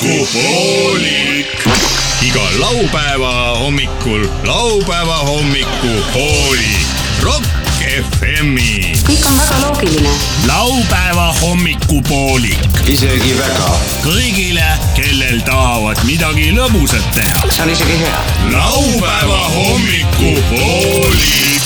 hommikupoolik . iga laupäeva hommikul laupäeva hommikupoolik . Rock FM-i . kõik on väga loogiline . laupäeva hommikupoolik isegi väga . kõigile , kellel tahavad midagi lõbusat teha . see on isegi hea . laupäeva hommikupoolik .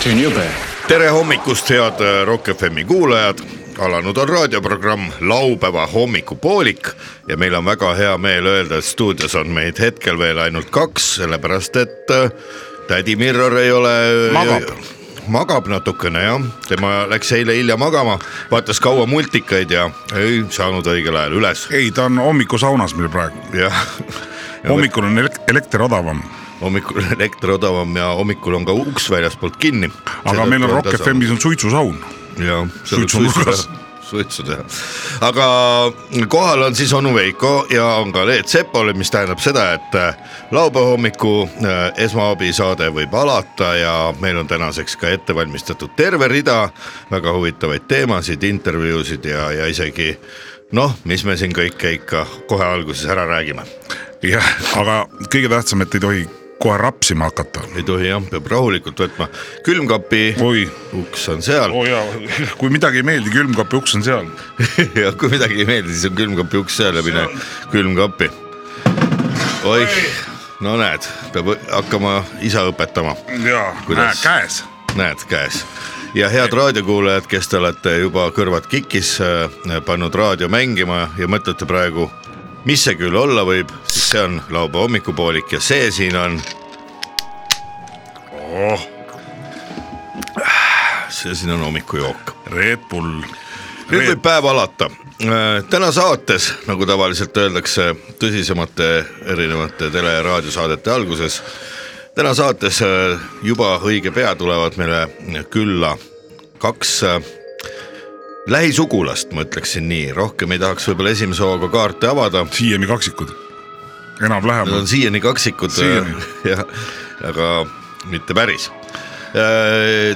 see on jube . tere hommikust , head äh, Rock FM-i kuulajad . alanud on raadioprogramm laupäeva hommikupoolik ja meil on väga hea meel öelda , et stuudios on meid hetkel veel ainult kaks , sellepärast et äh, tädi Mirror ei ole . Magab. magab natukene jah , tema läks eile hilja magama , vaatas kaua multikaid ja ei saanud õigel ajal üles ei , ta on hommikusaunas meil praegu , jah . hommikul on elek- elekter odavam , hommikul on elekter odavam ja hommikul on ka uks väljaspoolt kinni . aga meil on Rock FM-is on suitsusaun . ja Suitsunurgas. suitsu teha , aga kohal on siis onu Veiko ja on ka Leet Sepol , mis tähendab seda , et äh, laupäeva hommiku äh, esmaabisaade võib alata ja meil on tänaseks ka ette valmistatud terve rida väga huvitavaid teemasid , intervjuusid ja , ja isegi noh , mis me siin kõike ikka kohe alguses ära räägime . jah , aga kõige tähtsam , et ei tohi kohe rapsima hakata . ei tohi jah , peab rahulikult võtma külmkapi oi , uks on seal oo jaa , kui midagi ei meeldi , külmkapi uks on seal . ja kui midagi ei meeldi , siis on külmkapi uks seal ja mine külmkappi . oih , no näed , peab hakkama isa õpetama , jaa , näe Kuidas? käes . näed käes . ja head raadiokuulajad , kes te olete juba kõrvad kikis äh, pannud raadio mängima ja mõtlete praegu , mis see küll olla võib , siis see on laupäeva hommikupoolik ja see siin on oh , see siin on hommikujook . Red Bull . nüüd võib päev alata . täna saates , nagu tavaliselt öeldakse tõsisemate erinevate tele- ja raadiosaadete alguses , täna saates äh, juba õige pea tulevad meile külla kaks äh, lähisugulast , ma ütleksin nii , rohkem ei tahaks võib-olla esimese hooga kaarte avada , siiani kaksikud , nad on enam-vähem . siiani kaksikud äh, Siiani. , jah , aga mitte päris .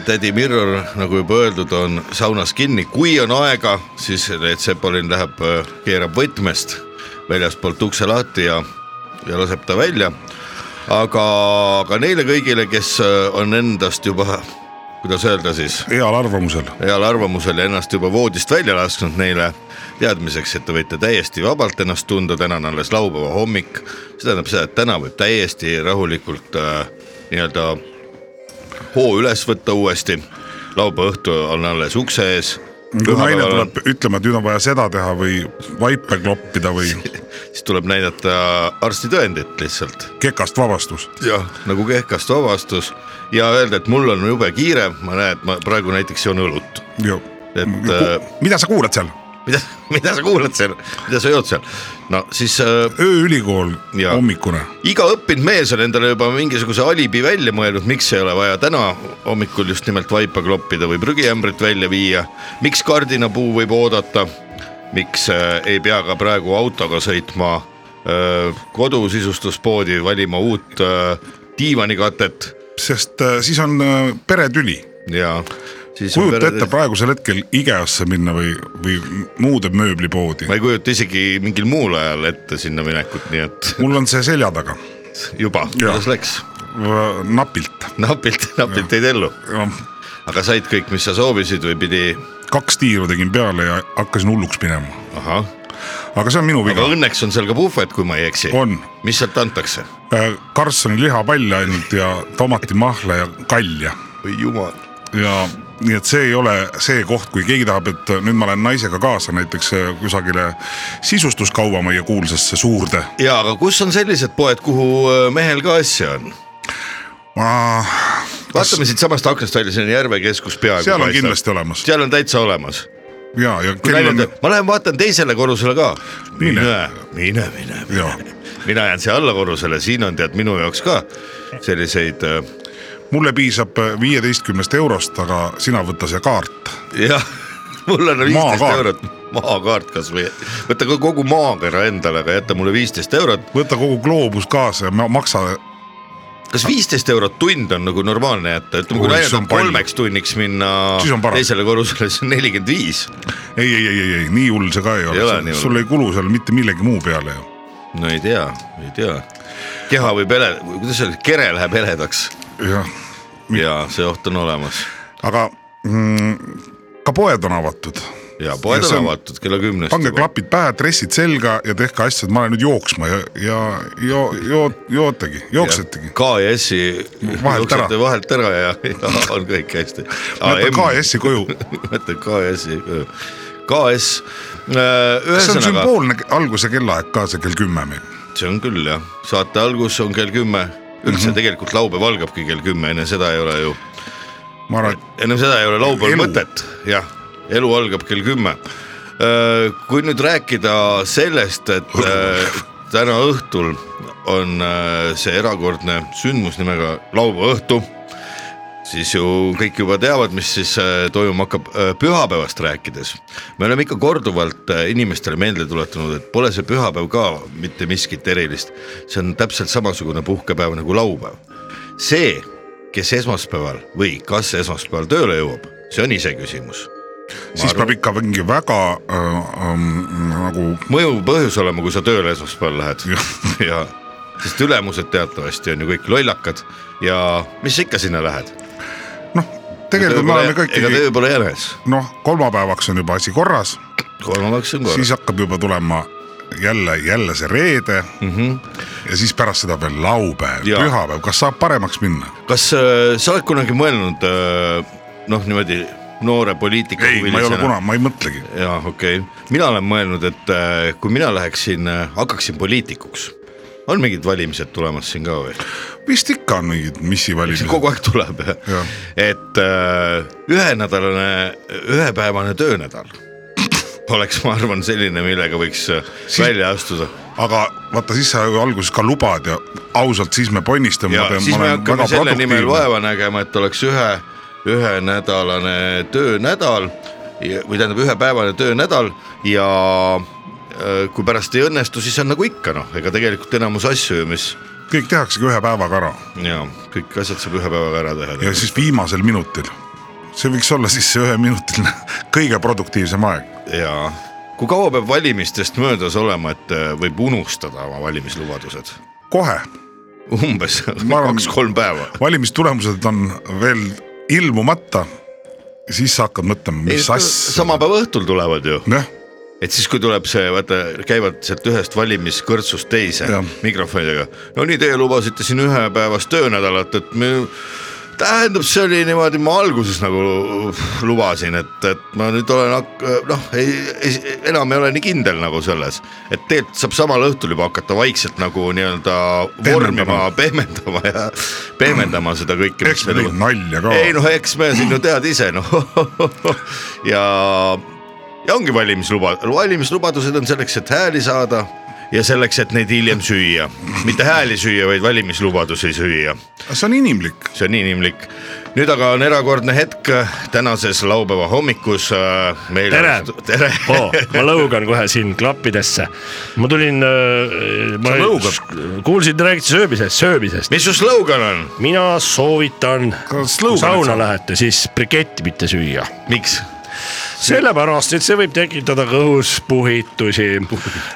tädi Mirror , nagu juba öeldud , on saunas kinni , kui on aega , siis Leet Sepolin läheb , keerab võtmest väljaspoolt ukse lahti ja , ja laseb ta välja . aga , aga neile kõigile , kes äh, on endast juba , kuidas öelda siis , heal arvamusel , heal arvamusel ja ennast juba voodist välja lasknud neile teadmiseks , et te võite täiesti vabalt ennast tunda , täna on alles laupäeva hommik . see tähendab seda , et täna võib täiesti rahulikult äh, nii-öelda hoo üles võtta uuesti . laupäeva õhtu on alles ukse ees . kui Nagu naine tuleb ütlema , et nüüd on vaja seda teha või vaipe kloppida või siis tuleb näidata arstitõendit lihtsalt kekast vabastus . jah , nagu kehkast vabastus ja öelda , et mul on jube kiire , ma näen , et ma praegu näiteks joon õlut , et äh, mida sa kuulad seal ? mida , mida sa kuulad seal , mida sa jood seal ? no siis äh, ööülikool Ja. hommikune . iga õppinud mees on endale juba mingisuguse alibi välja mõelnud , miks ei ole vaja täna hommikul just nimelt vaipa kloppida või prügiämbrit välja viia . miks kardinapuu võib oodata , miks äh, ei pea ka praegu autoga sõitma äh, kodusisustuspoodi valima uut äh, diivanikatet sest äh, siis on äh, peretüli . ja siis . kujuta ette praegusel hetkel IKEA-sse minna või , või muude mööblipoodi . ma ei kujuta isegi mingil muul ajal ette sinna minekut , nii et mul on see selja taga , juba , Jaa. kuidas läks , napilt . napilt , napilt jäid ellu , aga said kõik , mis sa soovisid või pidi , kaks tiiru tegin peale ja hakkasin hulluks minema . ahah aga see on minu aga viga . õnneks on seal ka puhvet , kui ma ei eksi . on mis sealt antakse ? Äh, Karlssoni lihapalle ainult ja tomatimahla ja kalja oi jumal . ja nii et see ei ole see koht , kui keegi tahab , et äh, nüüd ma lähen naisega kaasa näiteks äh, kusagile sisustuskaua meie kuulsasse suurde ja aga kus on sellised poed , kuhu äh, mehel ka asja on ? Ma... vaatame siitsamast aknast välja , siin on Järve keskus peaaegu . seal on kindlasti olemas seal on täitsa olemas . ja , ja kell on , ma lähen vaatan teisele korrusele ka . Mine. mine , mine , mine . ja mina jään siia allakorrusele , siin on tead minu jaoks ka selliseid äh, mulle piisab äh, viieteistkümnest eurost , aga sina võta see kaart . jah , mul on viisteist Maakaart. eurot , maakaart kasvõi , võta ka kogu maakera endale , aga jäta mulle viisteist eurot võta kogu gloobus kaasa ja ma- maksa kas viisteist eurot tund on nagu normaalne jätta , ütleme kui Oi, laiad see on on palju. kolmeks tunniks minna Siis on parem. teisele korrusele , siis on nelikümmend viis . ei , ei , ei , ei , ei , nii hull see ka ei ole, Ei ole nii hull. sul ei kulu seal mitte millegi muu peale ju . no ei tea , ei tea . keha võib hele- , kuidas see oli , kere läheb heledaks jah , ja see oht on olemas aga mm, ka poed on avatud , ja poed Ja see on on- avatud kella kümnest . pange klapid pähe , dressid selga ja tehke asjad , ma lähen nüüd jooksma ja , ja jo, jo, jootegi , jooksetegi . K ja S-i Vahelt ära. jooksete vahelt ära ja, ja on kõik hästi . jätan KS-i koju , mõtle KS-i , KS . kas see on Äh, ühesõnaga , sümboolne alguse kellaaeg ka see kell kümme meil ? see on küll jah , saate algus on kell kümme , üldse mm -hmm. tegelikult laupäev algabki kell kümme , enne seda ei ole ju , ma arvan , et enne seda ei ole laupäeval Elu. mõtet , jah , elu algab kell kümme . kui nüüd rääkida sellest , et öö, täna õhtul on öö, see erakordne sündmus nimega laupäeva õhtu siis ju kõik juba teavad , mis siis äh, toimuma hakkab äh, pühapäevast rääkides . me oleme ikka korduvalt äh, inimestele meelde tuletanud , et pole see pühapäev ka mitte miskit erilist . see on täpselt samasugune puhkepäev nagu laupäev . see , kes esmaspäeval või kas esmaspäeval tööle jõuab , see on iseküsimus . siis peab ikka mingi väga äh, ähm, nagu mõjuv põhjus olema , kui sa tööle esmaspäeval lähed ja sest ülemused teatavasti on ju kõik lollakad ja mis sa ikka sinna lähed . noh , tegelikult me oleme kõik ega ikkagi töö pole jänes , noh , kolmapäevaks on juba asi korras , kolmandaks on korras siis . hakkab juba tulema jälle , jälle see reede mm . -hmm. ja siis pärast seda veel laupäev , Mhm. Jaa. pühapäev , kas saab paremaks minna ? kas äh, sa oled kunagi mõelnud äh, noh , niimoodi noore poliitika ei , ma ei ole kunagi , ma ei mõtlegi . jaa , okei okay. , mina olen mõelnud , et äh, kui mina läheksin äh, , hakkaksin poliitikuks , on mingid valimised tulemas siin ka või ? vist ikka on mingid missivalimised . kogu aeg tuleb jah Jah. , et äh, ühenädalane , ühepäevane töönädal oleks , ma arvan , selline , millega võiks äh, Siis- välja astuda aga vaata , siis sa ju alguses ka lubad ja ausalt , siis me ponnistame . ja siis me hakkame selle nimel vaeva nägema , et oleks ühe , ühenädalane töönädal ja- või tähendab ühepäevane töönädal ja äh, kui pärast ei õnnestu , siis on nagu ikka noh , ega tegelikult enamus asju ju , mis kõik tehaksegi ühe päevaga ära ja kõik asjad saab ühe päevaga ära teha ja . siis viimasel minutil . see võiks olla siis see üheminutiline kõige produktiivsem aeg . ja kui kaua peab valimistest möödas olema , et äh, võib unustada oma valimislubadused ? kohe , umbes Ma arvan- kaks-kolm päeva . valimistulemused on veel ilmumata . siis sa hakkad mõtlema , mis asja . sama päeva õhtul tulevad ju . jah , et siis , kui tuleb see , vaata , käivad sealt ühest valimiskõrtsust teise ja. Jah. mikrofonidega . no nii , teie lubasite siin ühepäevast töönädalat , et me , tähendab , see oli niimoodi , ma alguses nagu lubasin , et , et ma nüüd olen hak- noh , ei, ei , enam ei ole nii kindel nagu selles . et tegelikult saab samal õhtul juba hakata vaikselt nagu nii-öelda vormima , pehmendama ja pehmendama seda kõike . eks me tegime nalja ka . ei noh , eks me siin ju tead ise noh ja , ja ongi valimisluba , valimislubadused on selleks , et hääli saada ja selleks , et neid hiljem süüa , mitte hääli süüa , vaid valimislubadusi süüa , see on inimlik . see on inimlik . nüüd aga on erakordne hetk tänases laupäeva hommikus äh, meil . tere, tere. oo , ma lõugan kohe siin klappidesse . ma tulin . Sa lõugad? ? kuulsin , te räägite söömisest , söömisest . mis su slogan on , mina soovitan , kui Kas lõugad sauna sa- lähete , siis briketti mitte süüa . miks ? sellepärast , et see võib tekitada kõhus puhitusi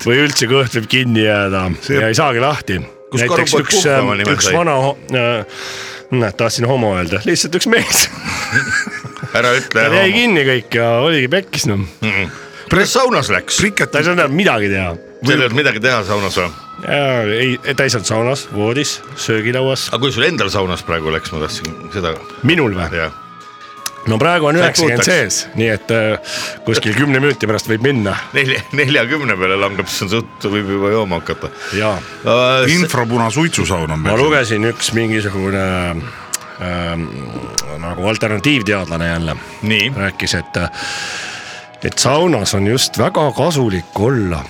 või üldse kõht võib kinni jääda see... ja ei saagi lahti . Kus näiteks karupoeg üks äh, puhkama , nimelt üks sai? vana , näed , tahtsin homo öelda , lihtsalt üks mees , ära ütle ta jäi enam . kinni kõik ja oligi pekkis noh , kuidas saunas läks ? ta ei saanud enam midagi teha seal ei olnud midagi teha saunas või ? Jaa, Äh, ei , ta ei saanud saunas , voodis , söögilauas , aga kui sul endal saunas praegu läks , ma tahtsin seda , minul või ? jah . no praegu on Sa ei üheksakümmend puutaks. sees , nii et äh, kuskil kümne minuti pärast võib minna nelja , neljakümne peale langeb , siis on suht , võib juba jooma hakata ja uh, . infrapuna suitsusaun on ma meil . lugesin üks mingisugune ähm, nagu alternatiivteadlane jälle nii , äh, rääkis , et , et saunas on just väga kasulik olla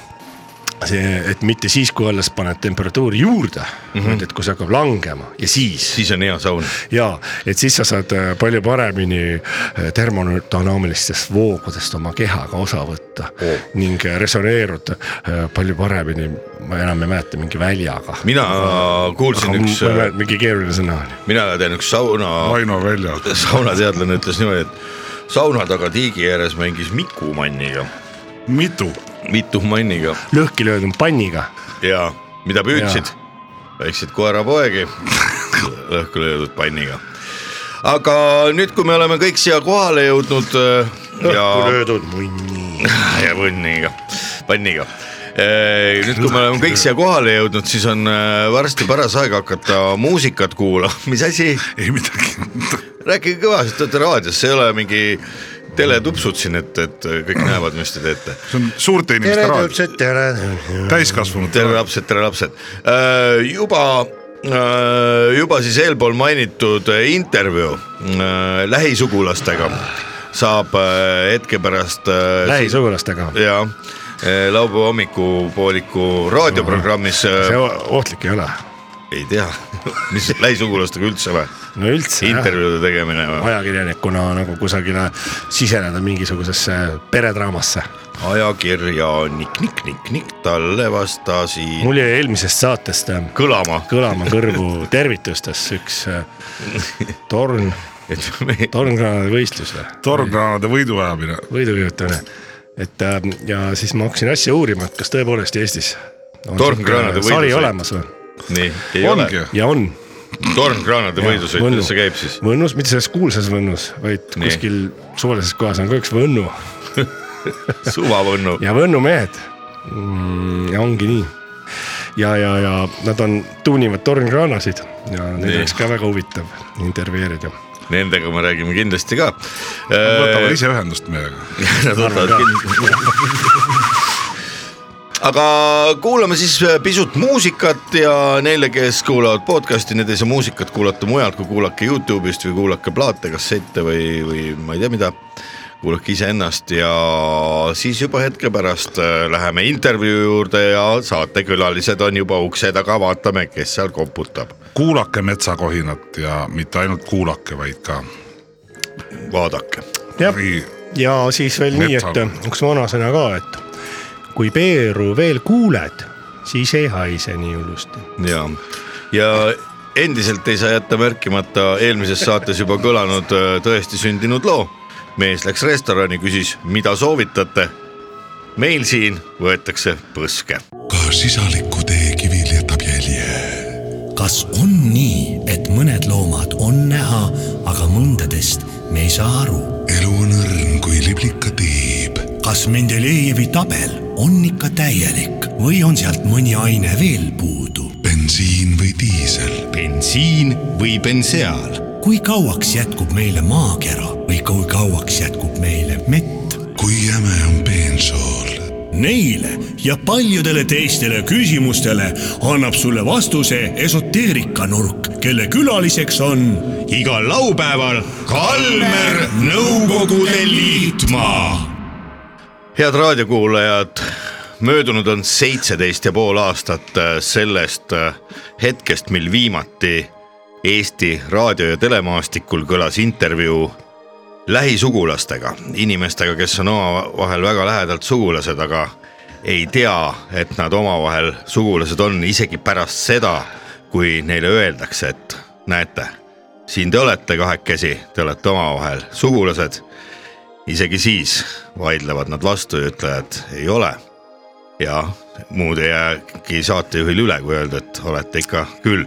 see , et mitte siis , kui alles paned temperatuuri juurde Mhm. mm , -hmm. et kui see hakkab langema ja siis siis on hea saun . ja et siis sa saad äh, palju paremini äh, termodünaamilistest voogudest oma kehaga osa võtta oh. ning äh, resoneeruda äh, palju paremini , ma enam ei mäleta , mingi väljaga . mina äh, kuulsin üks , äh, mingi keeruline sõna oli . mina tean üks sauna , Aino välja . saunateadlane ütles niimoodi , et sauna taga tiigi ääres mängis Miku Manniga , mitu ? Mitu Manniga lõhki löödud panniga Äh, ja mida püüdsid , väikseid koerapoegi lõhku löödud panniga . aga nüüd , kui me oleme kõik siia kohale jõudnud äh, ja , löödud munni . ja punniga , panniga . nüüd , kui me oleme kõik siia kohale jõudnud , siis on äh, varsti paras aeg hakata muusikat kuulama , mis asi , ei midagi . rääkige kõvasti , te olete raadios , see ei ole mingi teletupsud siin , et , et kõik näevad , mis te teete . see on suurte inimeste raadio , tere . täiskasvanute tere raadio . lapsed , tere lapsed . juba , juba siis eelpool mainitud äh, intervjuu äh, lähisugulastega saab äh, hetke pärast äh, lähisugulastega . ja äh, laupäeva hommikupooliku raadioprogrammis äh, see o- ohtlik ei ole . ei tea , mis lähisugulastega üldse või , no üldse jah intervjuude tegemine või , ajakirjanikuna nagu kusagile siseneda mingisugusesse peredraamasse . ajakirja nikk-nikk-nikk-nikk , talle vastasin mul jäi eelmisest saatest äh, kõlama , kõlama kõrvu tervitustes üks äh, torn , et me tornkraanade võistlus või , tormkraanade võiduajamine . võidukihutamine . et äh, ja siis ma hakkasin asja uurima , et kas tõepoolest Eestis on Tornkraanade sihuke sari võidusõit. olemas või nii ei ole ongi , ja on . tornkraanade võidusõit , kuidas see käib siis ? Võnnus , mitte selles kuulsas Võnnus , vaid Nii. Nii. kuskil suvalises kohas on ka üks Võnnu suvavõnnu . ja Võnnu mehed mm, . ja ongi nii . ja , ja , ja nad on , tuunivad tornkraanasid ja neid Nii. oleks ka väga huvitav intervjueerida . Nendega me räägime kindlasti ka . Äh, võtavad ise ühendust meiega . aga kuulame siis äh, pisut muusikat ja neile , kes kuulavad podcast'i , need ei saa muusikat kuulata mujalt , kui kuulake Youtube'ist või kuulake plaate , kassette või , või ma ei tea , mida . kuulake iseennast ja siis juba hetke pärast äh, läheme intervjuu juurde ja saatekülalised on juba ukse taga , vaatame , kes seal koputab . kuulake metsakohinat ja mitte ainult kuulake , vaid ka vaadake , jah , Nii. ja siis veel nii , et Metsa- üks vanasõna ka , et kui Peeru veel kuuled , siis ei haise nii hullusti . ja , ja endiselt ei saa jätta märkimata eelmises saates juba kõlanud äh, tõesti sündinud loo . mees läks restorani , küsis , mida soovitate . meil siin võetakse põske . ka sisaliku tee kivil jätab jälje . kas on nii , et mõned loomad on näha , aga mõndadest me ei saa aru ? elu on õrn kui liblika tiib . kas Mendelejevi tabel on ikka täielik või on sealt mõni aine veel puudu ? bensiin või diisel , bensiin või benseaal , kui kauaks jätkub meile maakera või kui kauaks jätkub meile mett ? kui jäme on bensool , Neile ja paljudele teistele küsimustele annab sulle vastuse esoteerikanurk , kelle külaliseks on igal laupäeval Kalmer Nõukogude Liitmaa head raadiokuulajad , möödunud on seitseteist ja pool aastat äh, sellest äh, hetkest , mil viimati Eesti raadio ja telemaastikul kõlas intervjuu lähisugulastega , inimestega , kes on omavahel väga lähedalt sugulased , aga ei tea , et nad omavahel sugulased on isegi pärast seda , kui neile öeldakse , et näete , siin te olete kahekesi , te olete omavahel sugulased isegi siis vaidlevad nad vastu ja ütlevad ei ole . ja muud ei jäägi saatejuhil üle , kui öelda , et olete ikka küll .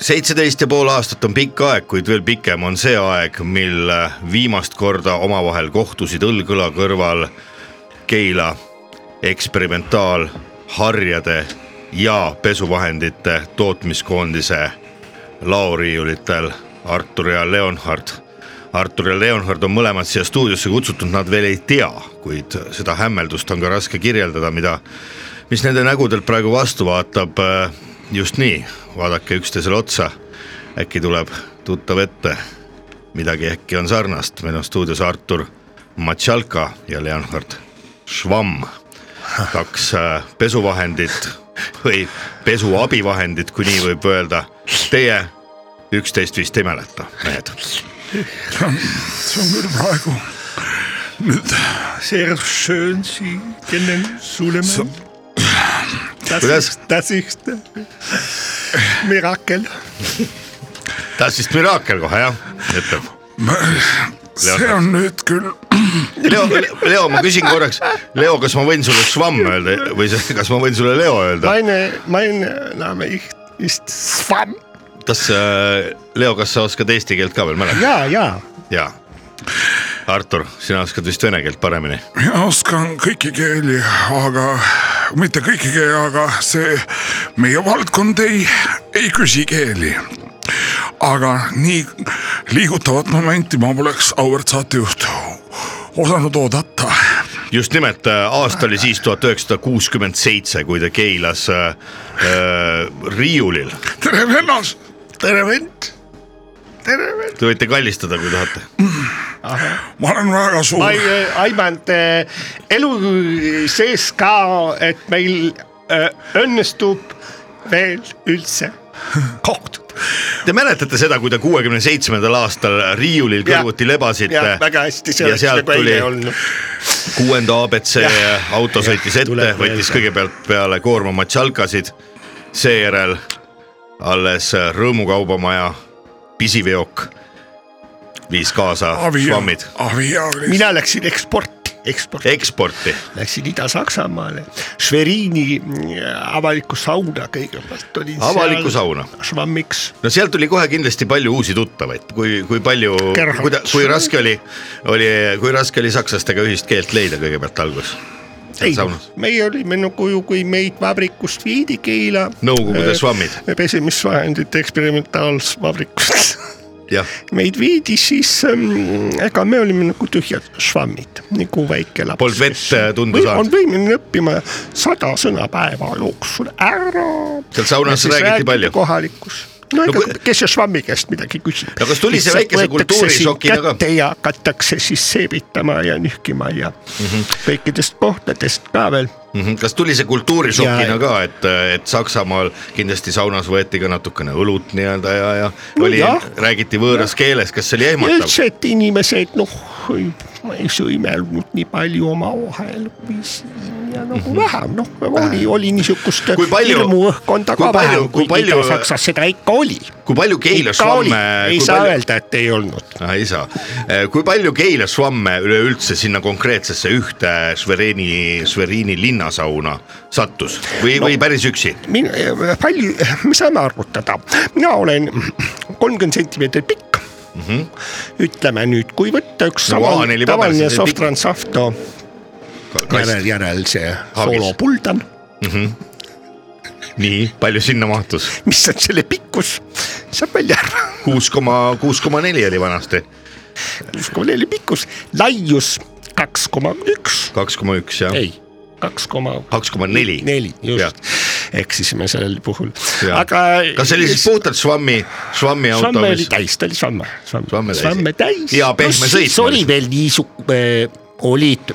seitseteist ja pool aastat on pikk aeg , kuid veel pikem on see aeg , mil äh, viimast korda omavahel kohtusid õlg õla kõrval Keila eksperimentaalharjade ja pesuvahendite tootmiskoondise laoriiulitel Artur ja Leonhard . Artur ja Leonhard on mõlemad siia stuudiosse kutsutud , nad veel ei tea , kuid seda hämmeldust on ka raske kirjeldada , mida , mis nende nägudelt praegu vastu vaatab . just nii , vaadake üksteisele otsa , äkki tuleb tuttav ette , midagi äkki on sarnast , meil on stuudios Artur Matšalka ja Leonhard Schwamm kaks äh, pesuvahendit või pesuabivahendit , kui nii võib öelda . Teie üksteist vist ei mäleta , mehed . see on küll praegu nüüd sehr schön Sie kennen Suleman so. . Das Kuidas? ist , das ist mirakel . taas vist miraakel kohe jah , ütleb . ma, see on nüüd küll , Leo , Leo , ma küsin korraks , Leo , kas ma võin sulle švamm öelda või see- kas ma võin sulle Leo öelda ? Meine , meine Name ich, ist Svan . kas äh, , Leo , kas sa oskad eesti keelt ka veel mäletada ? ja , ja . jaa . Artur , sina oskad vist vene keelt paremini ? mina oskan kõiki keeli , aga mitte kõiki keeli , aga see meie valdkond ei , ei küsi keeli . aga nii liigutavat momenti ma poleks auväärt saatejuht osanud oodata . just nimelt , aasta oli siis tuhat üheksasada kuuskümmend seitse , kui ta Keilas äh, äh, riiulil . tere , vennas . tere vend . tere vend . Te võite kallistada , kui tahate . ma olen väga suur ma ei , aimanud äh, elu sees ka , et meil äh, õnnestub veel üldse kohtuda . Te mäletate seda , kui te kuuekümne seitsmendal aastal riiulil Jah. kõrvuti lebasite jah , väga hästi , see Ja oleks sealt nagu eile tuli- olnud . kuuenda abc auto sõitis ette tuleb , võttis meelde. kõigepealt peale koorma matšalkasid , seejärel alles Rõõmukaubamaja pisiveok viis kaasa avi , švammid aviaalis . mina läksin eksporti , eksporti . eksporti . Läksin Ida-Saksamaale , Šveriini avalikku sauna kõigepealt olin Avalikku sauna. švammiks . no sealt tuli kohe kindlasti palju uusi tuttavaid , kui , kui palju , Gerhard. kui , kui raske oli , oli , kui raske oli sakslastega ühist keelt leida kõigepealt alguses . ei saunas ,, meie olime nagu ju , kui meid vabrikust viidi Keila . Nõukogude Äh. švammid. . pesimisvahendite eksperimentaalvabrikust . jah , meid viidi siis ähm, , ega me olime nagu tühjad švammid , nagu väike laps . Polnud vett, äh, tundu saanud. on võimeline õppima sada sõna päeva jooksul ära . Seal saunas räägiti palju. kohalikus no, No no kui- ega kes see švammi käest midagi küsib . No kas tuli see väikese kultuurishokina ka? kätte ja hakatakse siis seebitama ja nühkima ja mm Mhm. -hmm. kõikidest kohtadest ka veel . kas tuli see kultuurishokina Ja- ka , et , et Saksamaal kindlasti saunas võeti ka natukene õlut nii-öelda ja , ja No oli jah. , räägiti võõras keeles , kas see oli ehmatav ? üldse , et inimesed noh , ei sõimelnud nii palju omavahel või siin ja nagu vähem noh , oli , oli niisugust Mhm. Kui palju- hirmuõhkkonda kui ka palju- vähem , kui kui palju- Ida-Saksas seda ikka oli . kui palju Keila ikka oli švamme ,, ei kui saa palju , öelda , et ei olnud . ei saa , Äh, kui palju Keila švamme üleüldse sinna konkreetsesse ühte Švereeni , Švereeni linnasauna sattus või no. , või päris üksi ? min- , eh, palju , me saame arvutada , mina olen kolmkümmend sentimeetrit pikk mm . -hmm. ütleme nüüd , kui võtta üks Mhm. No taval- A4 paber, tavaline siis on pikk. soft-transafto järel , järel see Hagis. soolopuldan , nii , palju sinna mahtus ? mis on selle pikkus , saab välja arvata . kuus koma , kuus koma neli oli vanasti , kuus koma neli pikkus , laius kaks koma üks , kaks koma üks jah , ei , kaks koma kaks koma neli . neli , Jah. just . eksisime sellel puhul , Jah. aga . kas see oli siis puhtalt švammi , švammi auto , Samme oli mis täis , ta oli samme , Samme samme , täis. samme täis . Hea pehme siis sõitmine. oli veel niisugune , olid ,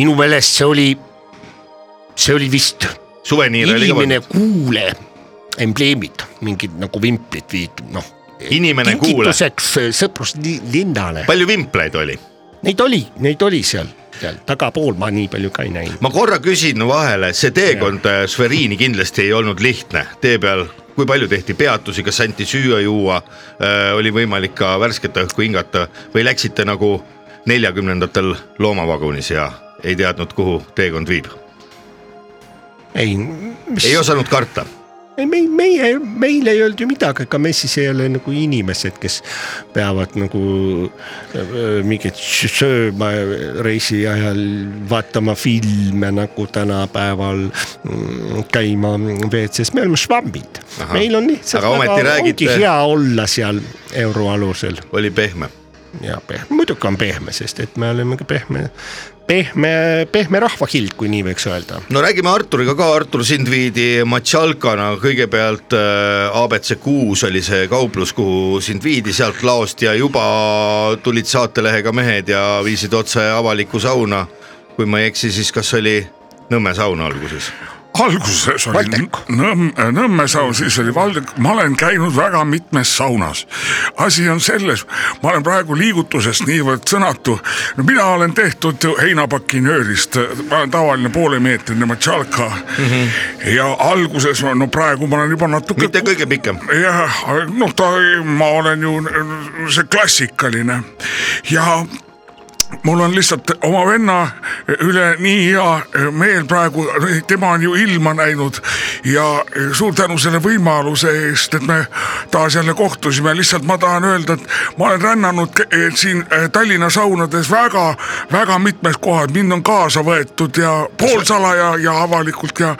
minu meelest see oli , see oli vist suveniir oli ka inimene pandud , kuule embleemid , mingid nagu vimplid viid , noh . Inimene kuule. kingituseks äh, sõpruslinnale , palju vimpleid oli ? neid oli , neid oli seal , seal tagapool ma nii palju ka ei näinud . ma korra küsin vahele , see teekond äh, Sveriini kindlasti ei olnud lihtne , tee peal , kui palju tehti peatusi , kas anti süüa-juua , oli võimalik ka värsket õhku hingata või läksite nagu neljakümnendatel loomavagunis ja ei teadnud , kuhu teekond viib , ei , ei osanud karta . ei , me , meie , meil ei olnud ju midagi , ega me siis ei ole nagu inimesed , kes peavad nagu öö, mingit sö- sööma reisi ajal , vaatama filme nagu tänapäeval , mm, käima WC-s , me oleme švambid . Ahah. meil on lihtsalt Aga ometi väga- räägite- ongi hea olla seal euro alusel oli pehme , ja pehme , muidugi on pehme , sest et me oleme ka pehme , pehme , pehme rahvakild , kui nii võiks öelda no räägime Arturiga ka , Artur sind viidi Matšalkana kõigepealt äh, abc kuus oli see kauplus , kuhu sind viidi sealt laost ja juba tulid saatelehega mehed ja viisid otse avalikku sauna kui ma ei eksi , siis kas oli Nõmme saun alguses ? alguses oli Valdek. Nõmme , Nõmme saun , siis oli Valdek , ma olen käinud väga mitmes saunas . asi on selles , ma olen praegu liigutusest niivõrd sõnatu , no mina olen tehtud ju heinapakinöörist , ma olen tavaline poolemeetrine matšalka mm . -hmm. ja alguses , no praegu ma olen juba natuke mitte kõige pikem . jah , noh , ta , ma olen ju see klassikaline ja mul on lihtsalt oma venna üle nii hea meel praegu , tema on ju ilma näinud ja suur tänu selle võimaluse eest , et me taas jälle kohtusime , lihtsalt ma tahan öelda , et ma olen rännanud ke- eh, siin Tallinna saunades väga-väga mitmes kohas , mind on kaasa võetud ja poolsalaja ja avalikult ja ,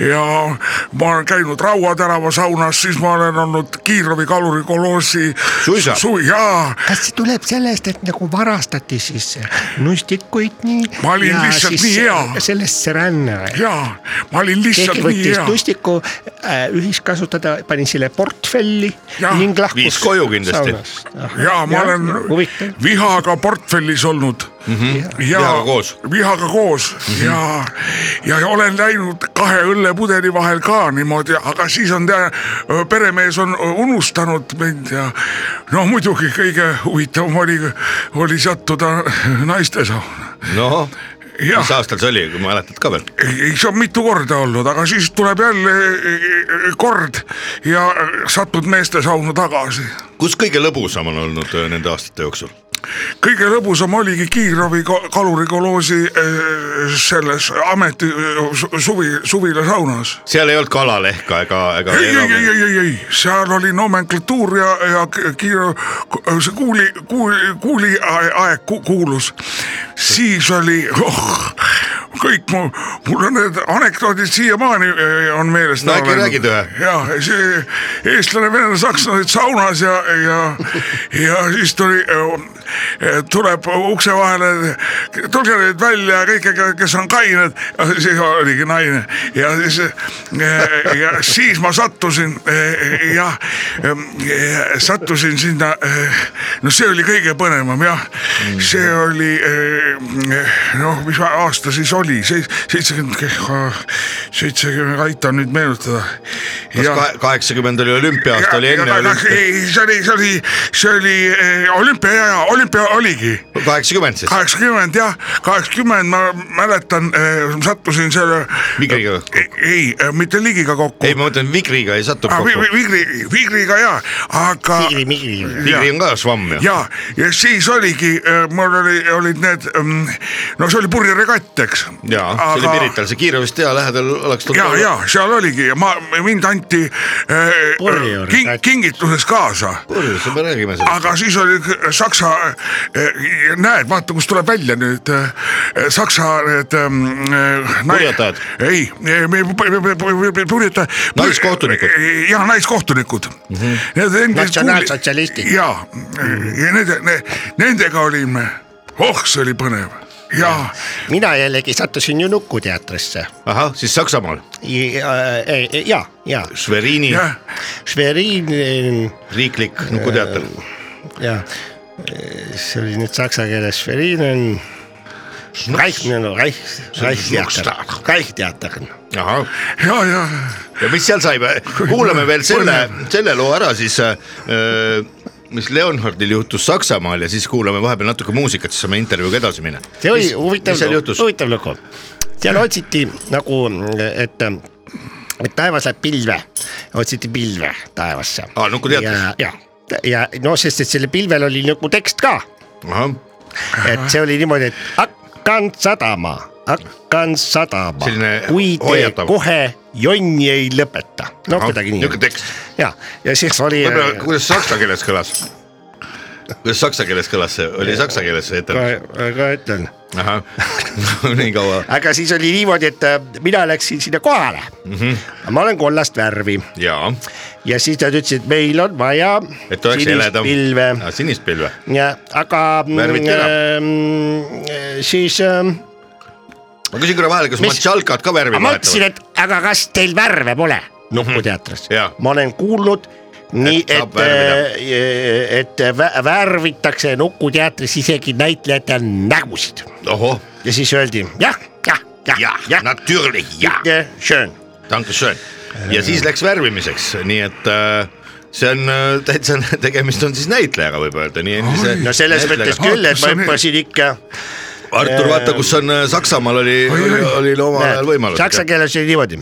ja ma olen käinud Raua tänava saunas , siis ma olen olnud Kiirlovi kalurikoloosi . Suisa. jaa kas see tuleb sellest , et nagu varastati siis nustikuid nii ? Ma olin lihtsalt nii hea. sellesse ränne või ? jaa , ma olin lihtsalt keegi nii võttis hea . tustiku äh, ühiskasutada , pani selle portfelli ja. Jah. ning lahkus . Viis koju kindlasti. . ja ma olen huvitav , vihaga portfellis olnud mm . -hmm. Mhm. Vihaga koos. Mhm. vihaga koos mm -hmm. ja , ja olen läinud kahe õllepudeli vahel ka niimoodi , aga siis on tea, peremees on unustanud mind ja no muidugi kõige huvitavam oli , oli sattuda naistesauna . noh , jah mis , aastal see oli , kui mäletad ka veel ? ei see on mitu korda olnud , aga siis tuleb jälle eh, eh, kord ja satud meestesauna tagasi kus kõige lõbusam on olnud öö, nende aastate jooksul ? kõige lõbusam oligi Kiirabi ka- kalurikoloosi eh, selles ameti eh, su- suvi , suvilasaunas . seal ei olnud kalalehka ega , ega ei , ei , ei , ei , ei , ei , seal oli nomenklatuur ja , ja k- kiiro- , see kuuli , kuuli , kuuli aeg ku- kuulus . siis oli , oh , kõik mu , mul on need anekdoodid siiamaani eh, on meeles . No äkki räägid ühe? ja see eestlane , venelane , sakslane olid saunas ja , ja , ja siis tuli , tuleb ukse vahele , tulge nüüd välja kõik , kes on kained , siis oligi naine ja siis , ja siis ma sattusin eh, jah , sattusin sinna , no see oli kõige põnevam jah , see oli eh, noh , mis aasta siis oli , seitsekümmend , seitsekümmend , aita nüüd meenutada . Ja- kas kaheksakümmend oli olümpia-aasta , oli ja- enne ja- olümpia , ei , see oli , see oli , see oli eh, olümpia ja olümpia oligi kaheksakümmend siis ? kaheksakümmend jah , kaheksakümmend ma mäletan , sattusin selle . Vigriga kokku. ei, ei , mitte ligiga kokku ei , ma mõtlen Vigriga ei sattu ah, . kokku . Vigri , Vigriga ja , aga . Vigri on ka švamm ju . ja , ja siis oligi , mul oli , olid need , no see oli purjeregatt , eks . ja , see oli Pirital , see Kiirevist ja lähedal oleks tulnud ja , ja seal oligi ja ma , mind anti äh, king, Purjeregatt. kingituses kaasa põhjus , me räägime sellest . aga siis oli k- Saksa , näed , vaata , kus tuleb välja nüüd eh, Saksa need . Purjetajad. ei , purjetajad . Naiskohtunikud. . äh, Mhm. jah , naiskohtunikud mm . -hmm. Natsionaalsotsialistid. ja , ja nende , nendega olime , oh , see oli põnev ja mina jällegi sattusin ju Nukuteatrisse ahah , siis Saksamaal , ja , eh, ja, ja. , Sverini jah , Schwerin eh, riiklik nukuteater . ja Eh, see oli nüüd saksa keeles Schwerin on . Reich , Reich , Reichsteater , Reichsteater . ahah , ja , ja ja mis seal sai , kuulame veel selle , selle loo ära siis äh, mis Leonhardil juhtus Saksamaal ja siis kuulame vahepeal natuke muusikat , siis saame intervjuuga edasi minna . see oli huvitav mis seal , juhtus? huvitav lugu . seal otsiti nagu , et , et taevas läheb pilve , otsiti pilve taevasse . Aa, nagu Nukuteatris. ja , ja , ja no sest , et sellel pilvel oli nagu tekst ka , ahah , et see oli niimoodi , et hakkan sadama , hakkan sadama Selline , kui te hoiatav. kohe jonni ei lõpeta . no Ahah, kuidagi nii niisugune . tekst. ja , ja siis oli . äh, võib-olla kuidas saksa keeles kõlas ? kuidas saksa keeles kõlas see , oli saksa keeles see etendus ? ka ütlen , ahah , nii kaua , aga siis oli niimoodi , et äh, mina läksin sinna kohale mm . Mhm. -hmm. ma olen kollast värvi jaa , ja siis nad ütlesid , et meil on vaja et oleks sinist heledam . pilve sinist pilve , ja aga Värviti ära. ähm, siis ähm, ma küsin korra vahele , kas Mis- Ah, Matšalkad ka värvi ma mõtlesin , vahetavad ? et aga kas teil värve pole Nukuteatris Jaa. ma olen kuulnud nii , Et saab et , äh, et vä- värvitakse Nukuteatris isegi näitlejate nägusid ohoh ja siis öeldi jah , jah , jah , jah jah , natürlich jah , ja schön . dankeschön . ja Äh. siis läks värvimiseks , nii et äh, see on äh, täitsa , tegemist on siis näitlejaga , võib öelda , nii endise . no selles mõttes küll , et Kas see ma on nii? hüppasin ikka . Artur , vaata , kus on äh, Saksamaal oli , oli, oli omal ajal võimalus . saksa keeles oli niimoodi .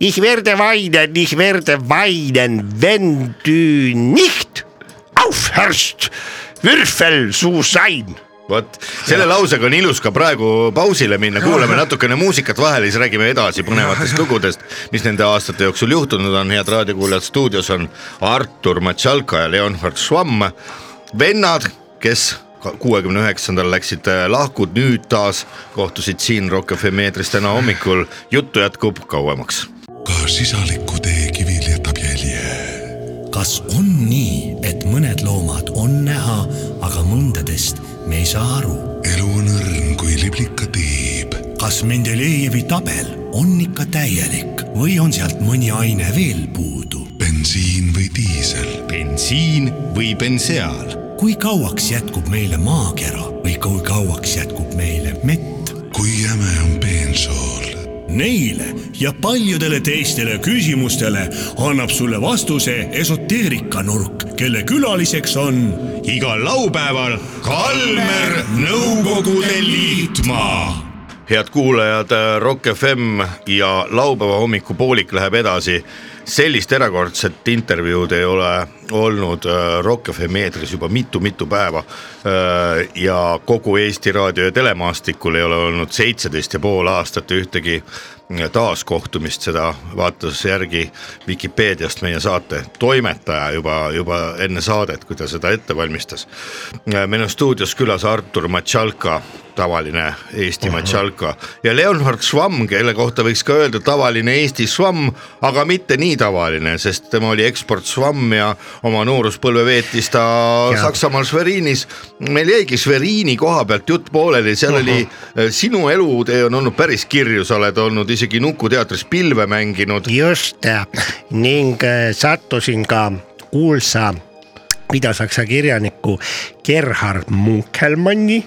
Ich werde weinen , ich werde weinen , wenn du nicht aufhörst , Würfel zu sein . vot selle lausega on ilus ka praegu pausile minna , kuulame natukene muusikat vahele , siis räägime edasi põnevatest lugudest , mis nende aastate jooksul juhtunud on , head raadiokuulajad , stuudios on Artur Matšalka ja Leonhard Schwamm , vennad , kes kuuekümne üheksandal läksid äh, lahku , nüüd taas kohtusid siin Rock FM eetris täna hommikul , juttu jätkub kauemaks ka sisaliku tee kivil jätab jälje . kas on nii , et mõned loomad on näha , aga mõndadest me ei saa aru ? elu on õrn kui liblika tiib . kas Mendelejevi tabel on ikka täielik või on sealt mõni aine veel puudu ? bensiin või diisel , bensiin või benseaal , kui kauaks jätkub meile maakera või kui kauaks jätkub meile mett ? kui jäme on bensool , Neile ja paljudele teistele küsimustele annab sulle vastuse esoteerikanurk , kelle külaliseks on igal laupäeval Kalmer Nõukogude Liitmaa head kuulajad , Rock FM ja laupäeva hommikupoolik läheb edasi . sellist erakordset intervjuud ei ole olnud äh, Rock FM eetris juba mitu-mitu päeva . ja kogu Eesti raadio ja telemaastikul ei ole olnud seitseteist ja pool aastat ühtegi äh, taaskohtumist , seda vaatas järgi Vikipeediast meie saate toimetaja juba , juba enne saadet , kui ta seda ette valmistas . meil on stuudios külas Artur Matšalka , tavaline Eesti Matšalka ja Leonhard Schwamm , kelle kohta võiks ka öelda tavaline Eesti Schwamm , aga mitte nii tavaline , sest tema oli eksport Schwamm ja oma nooruspõlve veetis ta ja. Saksamaal Schwerinis . meil jäigi Schwerini koha pealt jutt pooleli , seal uh -huh. oli äh, sinu elutee on olnud päris kirju , sa oled olnud isegi Nuku teatris pilve mänginud . just ning äh, sattusin ka kuulsa idasaksa kirjaniku Gerhard Munkelmanni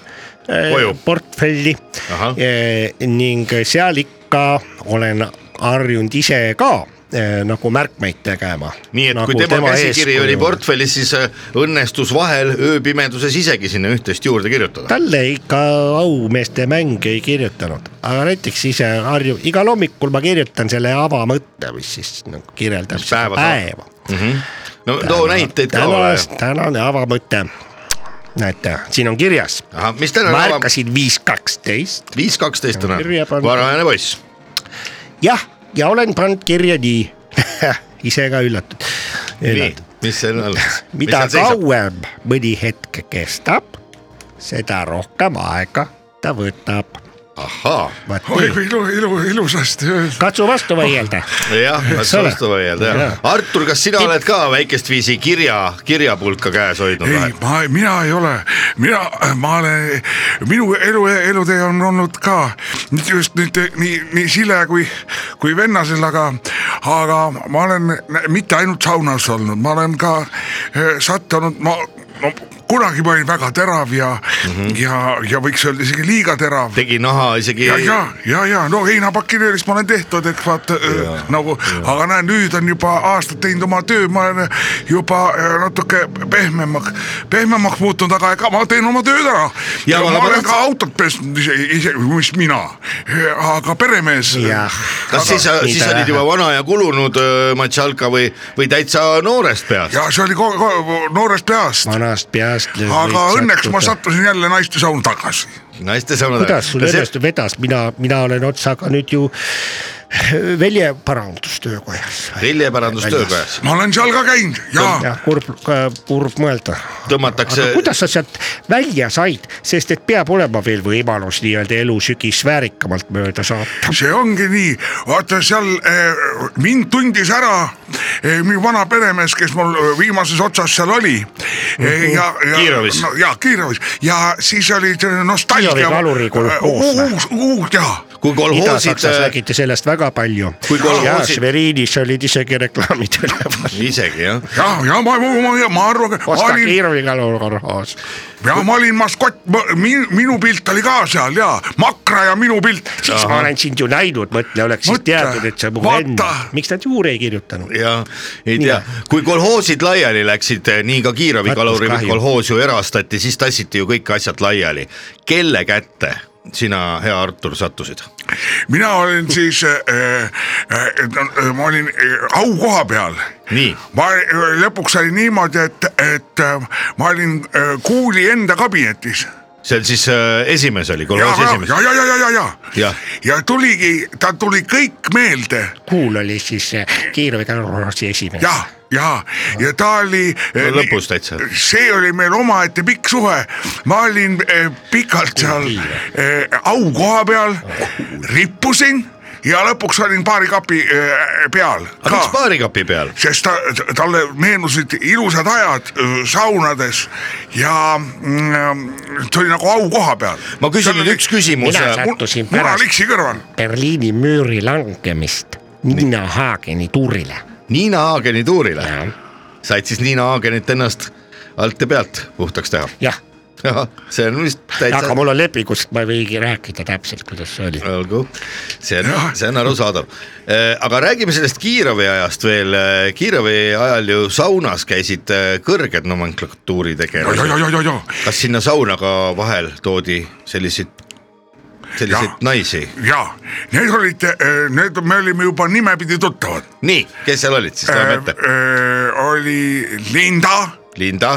äh, Koju. portfelli Ahah. Eh, ning seal ikka olen harjunud ise ka eh, nagu märkmeid tegema . nii et nagu kui tema, tema käsikiri oli eeskuju. portfellis , siis äh, õnnestus vahel ööpimeduses isegi sinna üht-teist juurde kirjutada . talle ikka aumeeste mäng ei kirjutanud , aga näiteks ise harju , igal hommikul ma kirjutan selle avamõtte , mis siis nagu kirjeldab Mis seda päeva päeva . no too näiteid ka ole . tänane , tänane avamõte . näete , siin on kirjas , ahah , mis täna ma ärkasin viis kaksteist , viis kaksteist täna Kirja , pandud. varajane poiss . jah , ja olen pannud kirja nii , ise ka üllatud, nii üllatud. ,, mis seal on ? mida kauem mõni hetk kestab , seda rohkem aega ta võtab . ahhaa , vaat oi nii , kui ilu , ilu , ilusasti öeldud . katsu vastu vaielda jah , Eks ole. vastu vaielda Jaa. jah . Artur , kas sina Tipp- oled ka väikest viisi kirja , kirjapulka käes hoidnud ei või ?, ma , mina ei ole , mina , ma olen , minu elu , elutee on olnud ka mitte just nüüd nii , nii sile kui , kui vennasel , aga , aga ma olen nä- mitte ainult saunas olnud , ma olen ka eh, sattunud , ma no, kunagi ma olin väga terav ja mm , -hmm. ja , ja võiks öelda isegi liiga terav . tegi naha isegi ja , ja , ja , ja no heinapakilöörist ma olen tehtud , et vaata eh, nagu , aga näe , nüüd on juba aastad teinud oma töö , ma olen juba eh, natuke pehmemaks , pehmemaks muutunud , aga ega ma teen oma tööd ära . Ja ja ma ma olen tahtsin- ka autot pesnud ise , ise , mis mina , aga peremees . jah , kas siis , äh, Aga- siis nii ta olid juba vana ja kulunud öö, Matšalka või , või täitsa noorest peast ? ja see oli ko- ko- noorest peast , vanast peast . aga õnneks ma . sattusin jälle naiste sauna tagasi . naiste saunad . kuidas sul õnnestus vedas , mina , mina olen otsaga nüüd ju väljaparandustöökojas . viljeparandustöökojas ma olen seal ka käinud ja jah , kurb , kurb mõelda . tõmmatakse aga kuidas sa sealt välja said , sest et peab olema veel võimalus nii-öelda elu sügis väärikamalt mööda saata . see ongi nii , vaata seal eh, mind tundis ära eh, minu vana peremees , kes mul eh, viimases otsas seal oli eh, . ja , ja Kiirovis. no, . ja Kiirovis ja siis oli selline nostalgia . Kiirovi kaluri kolhoos või? uus , uus ja . kui kolhoosid äh, äh, Ida-Saksas räägiti sellest väga palju Kui . ja kolhoosid- Šveriinis olid isegi reklaamid üleval . isegi jah , ja , ja ma , ma , ma arvan , ma Osta olin , Kirvikalu kolhoos . ja ma olin maskott , minu , minu pilt oli ka seal ja Makra ja minu pilt . siis ma olen sind ju näinud , mõtle , oleks siis Mõtle, teadnud , et see on mu vend vaata. . miks nad juurde ei kirjutanud ? ja ei tea , kui kolhoosid laiali läksid , nii ka Kiirabi Vaat, kaluri kahju. kolhoos ju erastati , siis tassiti ju kõik asjad laiali . kelle kätte sina , hea Artur , sattusid ? mina olin siis äh, , äh, no, ma olin äh, aukoha peal . Nii. ma äh, lõpuks oli niimoodi , et , et äh, ma olin äh, kuuli enda kabinetis . see on siis äh, esimees oli , ja , kolhoosi esimees ja , ja , ja , ja , ja , ja, Jah. ja tuligi , tal tuli kõik meelde kuul oli siis eh, Kirvikalu kolhoosi esimees . ja , ja , ja ta oli eh, No lõpus täitsa. see oli meil omaette pikk suhe , ma olin eh, pikalt seal eh, aukoha peal , rippusin ja lõpuks olin paari kapi eh, peal aga miks ka baarikapi peal ? sest ta , talle meenusid ilusad ajad eh, saunades ja mm, ta oli nagu aukoha peal . ma küsin nüüd üks äh, küsimuse mina . sattusin pärast munaliksi kõrval , Berliini müüri langemist Nina Hageni tuurile . Niina Haageni tuurile , said siis Niina Haagenit ennast alt ja pealt puhtaks teha . jah , see on vist aga täitsa . mul on lepingus , ma ei võigi rääkida täpselt , kuidas see oli . olgu , see on , see on arusaadav . aga räägime sellest Kiiravi ajast veel . Kiiravi ajal ju saunas käisid eh, kõrged nomenklatuuri ja , ja , tegelased . ja , ja , ja kas sinna sauna ka vahel toodi selliseid , selliseid Jah. naisi ? ja need olid , need , me olime juba nimepidi tuttavad . nii , kes seal olid siis , loeme ette . Äh, oli Linda , Linda ,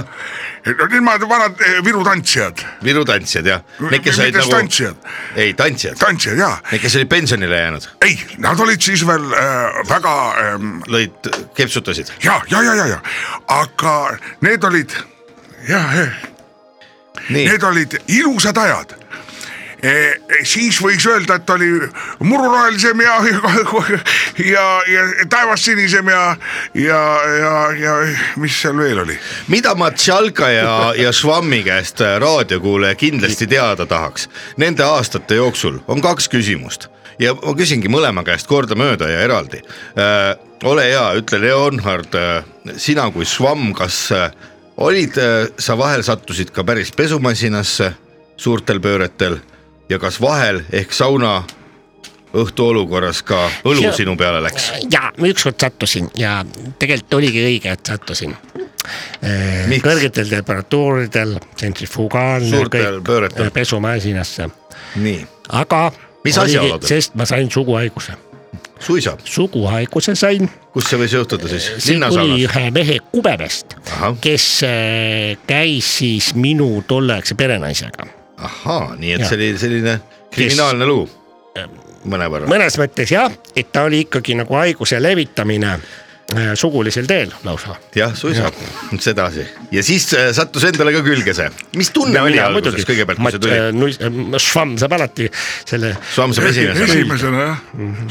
no nemad vanad äh, Viru tantsijad , Viru tantsijad jah ? Need , kes olid mitte nagu... nagu , tantsijad , ei tantsijad , tantsijad ja , need , kes olid pensionile jäänud ei , nad olid siis veel äh, väga ähm, lõid , kepsutasid . ja , ja , ja , ja , ja , aga need olid , jah , nii need olid ilusad ajad e, . siis võis öelda , et oli mururohelisem ja , ja , ja taevas sinisem ja , ja , ja , ja mis seal veel oli mida ma Tšalka ja , ja Švammi käest äh, raadiokuulaja kindlasti teada tahaks nende aastate jooksul on kaks küsimust ja ma küsingi mõlema käest kordamööda ja eraldi äh, . ole hea , ütle Leonhard äh, , sina kui Švamm , kas äh, olid äh, sa vahel sattusid ka päris pesumasinasse suurtel pööretel ja kas vahel ehk sauna õhtu olukorras ka õlu See- sinu peale läks , ja ma ükskord sattusin ja tegelikult oligi õige , et sattusin . Miks? kõrgetel temperatuuridel , tsentrifugaalne Suurtel pööretel. äh, pesumasinasse , nii aga . Mis asjaoludel? sest ma sain suguhaiguse , suisa , suguhaiguse sain . kus see võis juhtuda siis ? see tuli ühe mehe kubemest Ahah. , kes äh, käis siis minu tolleaegse perenaisega ahaa , nii et Jaa. see oli selline kriminaalne lugu mõnevõrra . mõnes mõttes jah , et ta oli ikkagi nagu haiguse levitamine äh, sugulisel teel lausa . jah , suisa , sedasi ja siis äh, sattus endale ka külge see , mis tunne oli alguses kõigepealt , kui see tuli ,? äh, Švamm saab alati selle . Švamm saab esimesena , esimesena jah ,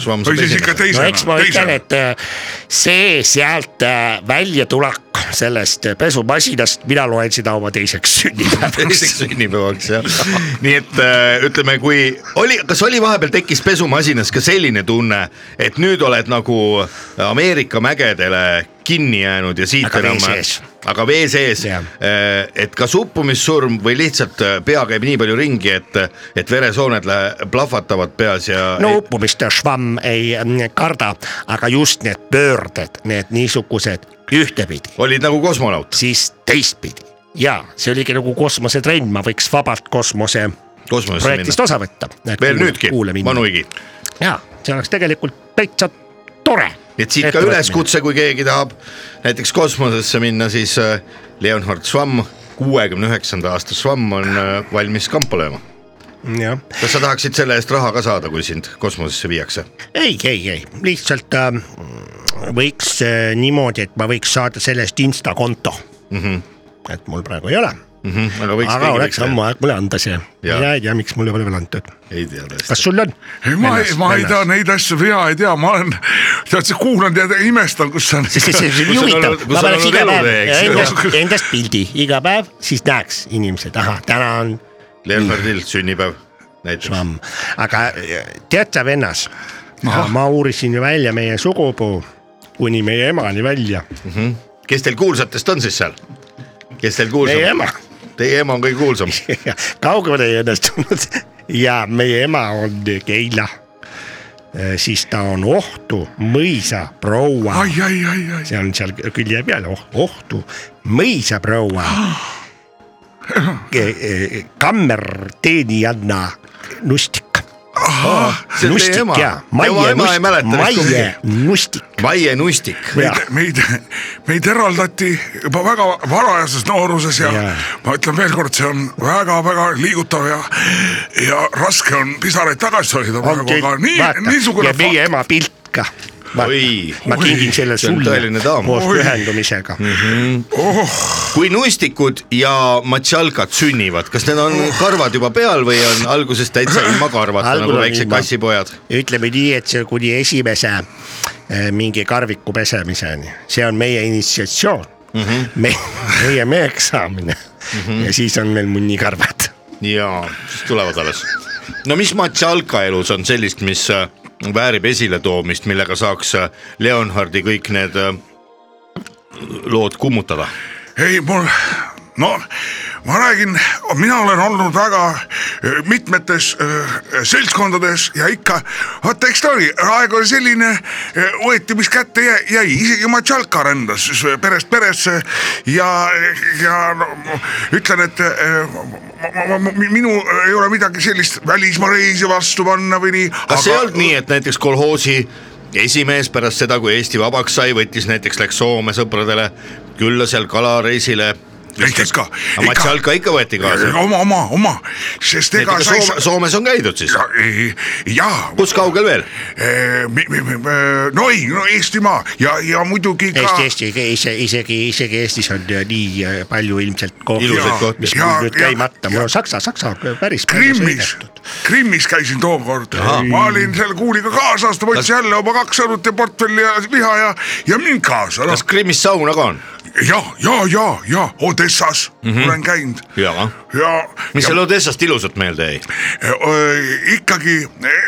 Švamm või saab siis ikka esimesena . no eks ma teisena , ütlen , teisena . et äh, see sealt äh, väljatulek sellest äh, pesumasinast , mina loen seda oma teiseks sünnipäevaks teiseks sünnipäevaks jah , nii et äh, ütleme , kui oli , kas oli vahepeal tekkis pesumasinas ka selline tunne , et nüüd oled nagu Ameerika mägedele kinni jäänud ja siit Aga vee enam sees. , aga vee sees Äh, Jah. , et kas uppumissurm või lihtsalt äh, pea käib nii palju ringi , et , et veresooned lähe- plahvatavad peas ja no uppumist švamm ei mm, karda , aga just need pöörded , need niisugused ühtepidi , olid nagu kosmonaut , siis teistpidi ja see oligi nagu kosmosetrenn , ma võiks vabalt kosmose kosmosesse projektist minna . osa võtta . veel nüüdki , Manu Igi , ja see oleks tegelikult täitsa tore . nii et siit ka . üleskutse , kui keegi tahab näiteks kosmosesse minna , siis äh, Leonhard Schwamm , kuuekümne üheksanda aasta Schwamm on äh, valmis kampa lööma . jah , kas sa tahaksid selle eest raha ka saada , kui sind kosmosesse viiakse ? ei , ei , ei lihtsalt ähm, võiks äh, niimoodi , et ma võiks saada selle eest Insta konto mm . -hmm. et mul praegu ei ole , Mhm, aga Mhm. võiks aga oleks ammu . aeg mulle anda see . Jaa. mina ei tea , miks mulle pole veel antud . ei tea tõesti . kas sul on ? ei , ma ei , ma ei tea . neid asju , mina ei tea , ma olen , tead , kuulan ja imestan , kus on . see , see , see Kus on on huvitav olnud- , kus ma on paneks olnud iga päev äh, elutee, eks ju. endast , endast pildi iga päev , siis näeks inimesed , ahah , täna on Leonhardil sünnipäev , näiteks . švamm , aga teate vennas , ma uurisin ju välja meie sugupuu kuni meie emani välja , kes teil kuulsatest on siis seal ? kes teil kuulsam meie ? ema Teie ema on kõige kuulsam . kaugele ei õnnestunud ja meie ema on Keila . siis ta on Ohtu mõisaproua , ai , ai , ai , ai , see on seal külje peal oh, , Ohtu mõisaproua . kammerteenijanna eh, Nustik . see on teie ema . tema ema ei mäleta vist Maie kumbki . Nustik . Maie Nustik . meid , meid eraldati juba väga varajases nooruses ja, ja. Jaa. ma ütlen veelkord , see on väga-väga liigutav ja , ja raske on pisaraid tagasi hoida praegu , aga nii , niisugune ja meie . ema pilt ka . ma Oi. ma kingin selle see on tõeline sulle daam. koos Oi. pühendumisega . kui Nustikud ja Matšalkad sünnivad , kas need on karvad juba peal või on alguses täitsa ilma karvata Algul nagu on väiksed ilma. kassipojad ? ütleme nii , et see kuni esimese eh, mingi karviku pesemiseni , see on meie initsiatsioon mm . Mhm. -hmm. me , meie meheks saamine mm -hmm. ja siis on meil munnikarvad . jaa , siis tulevad alles . no mis Matšalka elus on sellist , mis äh, väärib esiletoomist , millega saaks äh, Leonhardi kõik need äh, lood kummutada ? ei , mul , no ma räägin , mina olen olnud väga öö, mitmetes öö, seltskondades ja ikka , vot eks ta oli , aeg oli selline , võeti , mis kätte jä- jäi , isegi Matšalka rändas s- perest peresse ja , ja no, ma ütlen , et öö, ma, ma, ma, minu ei ole midagi sellist välismaa reisi vastu panna või nii . kas aga... ei olnud nii , et näiteks kolhoosi esimees pärast seda , kui Eesti vabaks sai , võttis näiteks , läks Soome sõpradele külla seal kalareisile . näiteks ka , Matšalka ikka võeti kaasa . oma , oma , oma , sest ega sa ei Soome, saa . Soomes on käidud siis , jaa , kus kaugel veel ? Eh, Mi- mi- mi- no ei , no Eestimaa ja , ja muidugi ka . Eesti , Eesti , isegi , isegi , isegi Eestis on eh, nii eh, palju ilmselt kohti Ilusaid kohti. , mis Ja- mul nüüd ja- käimata , mul on Saksa , Saksa on päris palju Krimmis sõidetud. , Krimmis käisin tookord , ma olin seal kuuliga kaasas , ta võttis jälle oma kaks õlut ja portfelli ja liha ja , ja mind kaasa , noh kas . Krimmis sauna ka on ? ja , ja , ja , ja Odessas mm -hmm. olen käinud jaa . ja . Mhm. mis seal Odessast ilusat meelde jäi ? ikkagi ,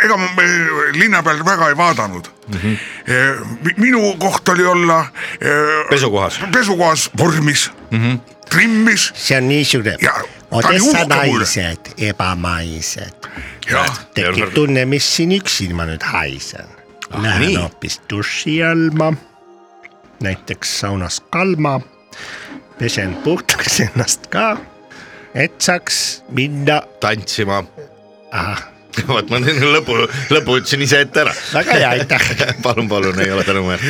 ega ma eh, linna peal väga ei vaadanud mm . Mhm. -hmm. minu koht oli olla eh, pesukohas . pesukohas vormis mm , -hmm. trimmis see on niisugune Ja ta oli Odessa uhke mulle. naised , ebamaised . ja tekib tunne , mis siin üksin ma nüüd haisen . Ah, nii. Lähen hoopis duši alla , näiteks saunas kalma , pesen puhtaks ennast ka , et saaks minna , tantsima . ahah , vot ma teen lõpu , lõpu ütlesin ise ette ära . väga hea , aitäh . palun , palun , ei ole tänuväärt .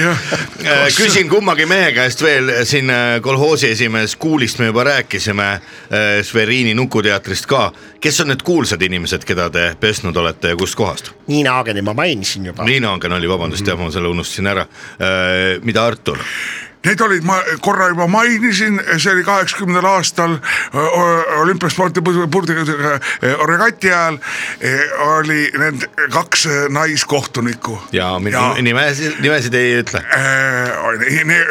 küsin kummagi mehe käest veel siin äh, kolhoosi esimees Kuulist me juba rääkisime äh, , Sveriini Nukuteatrist ka . kes on need kuulsad inimesed , keda te pesnud olete ja kust kohast ? Niina Aageni ma mainisin juba . Liina Angen oli , vabandust , jah , ma selle unustasin ära . mida Artur ? Need olid , ma korra juba mainisin , see oli kaheksakümnendal aastal ö, ö, olümpiaspordi pur- purdiga ö, regati ajal ö, oli need kaks ö, naiskohtunikku . E, ja min- nimesid , nimesid ei ütle .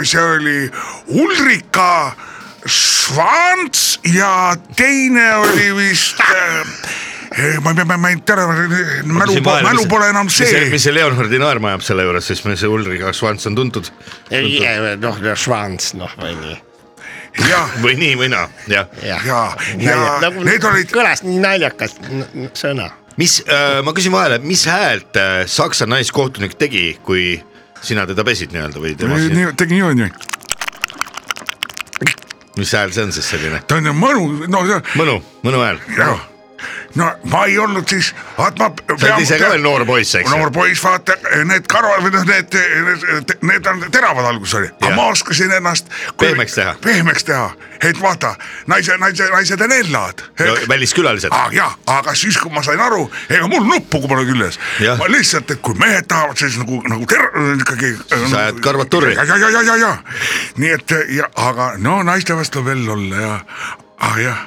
see oli Ulrika Svants ja teine oli vist , ma ei tea , ma ei tea , mälu , mälu pole enam see . mis see Leonhardi naerma ajab selle juures , siis meil see Ulrika Svants on tuntud noh , Švants , noh või nii . jah , või nii või naa , jah nagu ja , ja need olid nagu kõlas nii naljakas n- n- sõna . mis , ma küsin vahele , mis häält äh, saksa naiskohtunik tegi , kui sina teda pesid nii-öelda või tema Nii- sind , nii- tegi niimoodi , mis hääl see on siis selline ? ta on ju mõnus , no see- mõnu , mõnu hääl . jah , no ma ei olnud siis , vaat ma . sa oled ise ka veel noor poiss , eks ju noor ? poiss , vaata need karvad või noh , need , need , need on teravad alguses oli , aga Jah. ma oskasin ennast . Pehmeks teha. pehmeks teha , et vaata , naised , naised , naised on ellad . väliskülalised , Ah, jah , aga siis , kui ma sain aru , ega mul nuppu pole küljes Jah. . ma lihtsalt , et kui mehed tahavad , siis nagu , nagu ter- , ikkagi . Sa ajad karvad turri. ja , ja , ja , ja , ja , ja nii et ja , aga no naiste vastu veel olla ja , ah jah ,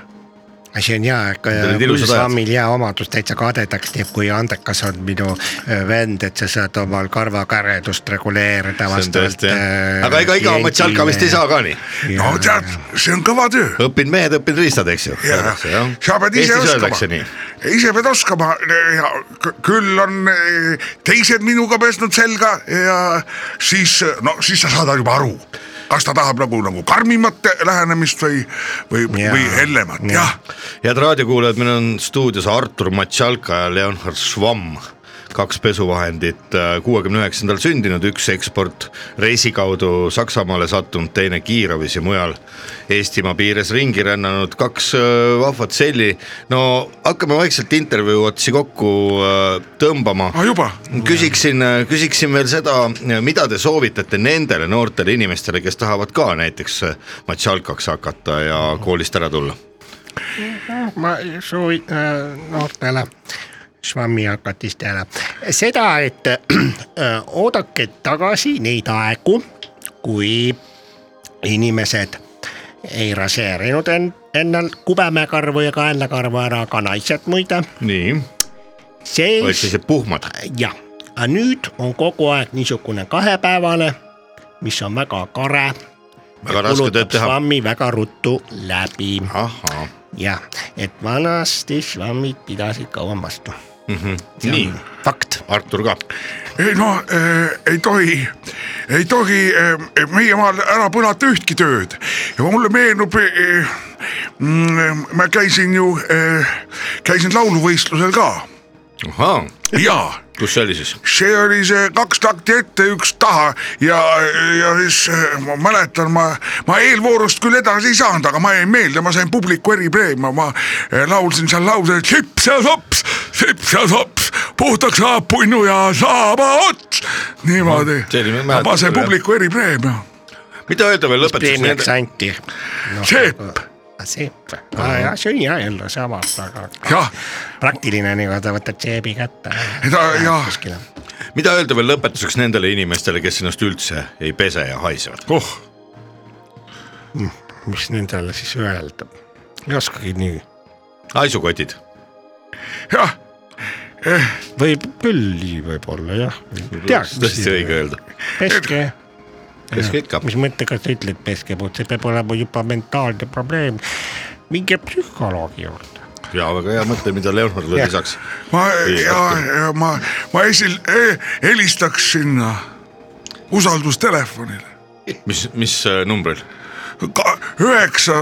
see on hea , olid ilusad Kuldsammil hea omadus täitsa kadedaks teeb , kui andekas on minu äh, vend , et sa saad omal karvakaredust see reguleerida on vastavalt . äh, tõesti jah . aga ega äh, iga oma tšalka vist ei saa . ka nii . no tead , see on kõva töö . õppinud mehed , õppinud riistad , eks ju . Jah. Sa pead ise oskama. öeldakse nii . ise pead oskama ja kü- küll on eh, teised minuga pesnud selga ja siis , no siis sa saad juba aru , kas ta tahab nagu , nagu karmimat lähenemist või , või , Jaa. või hellemat , jah . head raadiokuulajad , meil on stuudios Artur Matšalka ja Leonhard Schwamm , kaks pesuvahendit , kuuekümne üheksandal sündinud , üks eksport reisi kaudu Saksamaale sattunud , teine Kiievis ja mujal Eestimaa piires ringi rännanud , kaks äh, vahvat selli . no hakkame vaikselt intervjuu otsi kokku äh, tõmbama aa Ah, juba , küsiksin , küsiksin veel seda , mida te soovitate nendele noortele inimestele , kes tahavad ka näiteks matšalkaks hakata ja koolist ära tulla ? ma soovitan noortele švammihakatistele seda , et äh, oodake tagasi neid aegu , kui inimesed ei raseerinud en- endal kubemekarvu ja kaenlakarvu ära , ka naised muide . nii olid siis sellised puhmad , jah , aga nüüd on kogu aeg niisugune kahepäevane , mis on väga kare . väga raske tööd teha . švammi väga ruttu läbi ahhaa , jah , et vanasti švammid pidasid kauem vastu . nii , fakt . Artur ka , ei no eh, ei tohi , ei tohi eh, meie maal ära põlata ühtki tööd ja mulle meenub eh, . Mm, ma käisin ju eh, , käisin lauluvõistlusel ka ahhaa , ja kus see oli siis ? see oli see kaks takti ette , üks taha ja , ja siis eh, ma mäletan , ma , ma eelvoorust küll edasi ei saanud , aga ma jäin meelde , ma sain publiku eripreemia , ma eh, laulsin seal lause , sips ja sops , sips ja sops , puhtaks saab punnu ja saaba ots . niimoodi see oli- ma , mäletan ma sain küll, jah. publiku eripreemia , mida öelda veel preemiaks lõpetuseks ? anti . sepp , sepp , jah , see on hea jälle sama , aga jah , praktiline nii-öelda , võtad seebi kätte . ta jah , mida öelda veel lõpetuseks nendele inimestele , kes ennast üldse ei pese ja haisevad ? oh . mis nendele siis öelda , ei oskagi nii , haisukotid , jah , võib küll nii võib-olla jah . tõesti õige öelda , peske , kes ka ikka . mis mõttega sa ütled peske poolt , see peab olema juba mentaalne probleem . minge psühholoogi juurde . ja väga hea mõte , mida Leonhard veel Jah. lisaks . ma , Ei, ja Artur. , ja ma , ma esil- , helistaks sinna usaldustelefonile . mis , mis äh, numbril ? ka- üheksa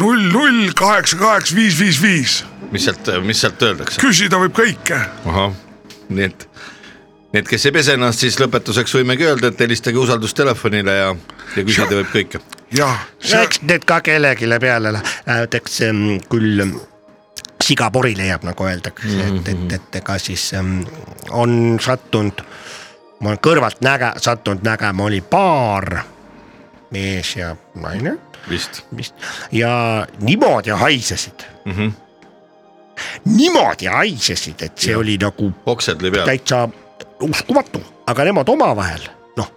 null null kaheksa kaheksa viis viis viis , mis sealt , mis sealt öeldakse ? küsida võib kõike . ahah , nii et , nii et kes ei pese ennast , siis lõpetuseks võimegi öelda , et helistage usaldustelefonile ja , ja küsida võib kõike . jah , eks need ka kellelegi peale lähevad , eks ähm, küll ähm, sigapori leiab , nagu öeldakse mm , -hmm. et , et , et ega siis ähm, on sattunud , ma olen kõrvalt näge- , sattunud nägema , oli paar , mees ja naine vist , vist ja niimoodi haisesid mm . -hmm. niimoodi haisesid , et see ja. oli nagu oksed oli peal , täitsa uskumatu , aga nemad omavahel noh ,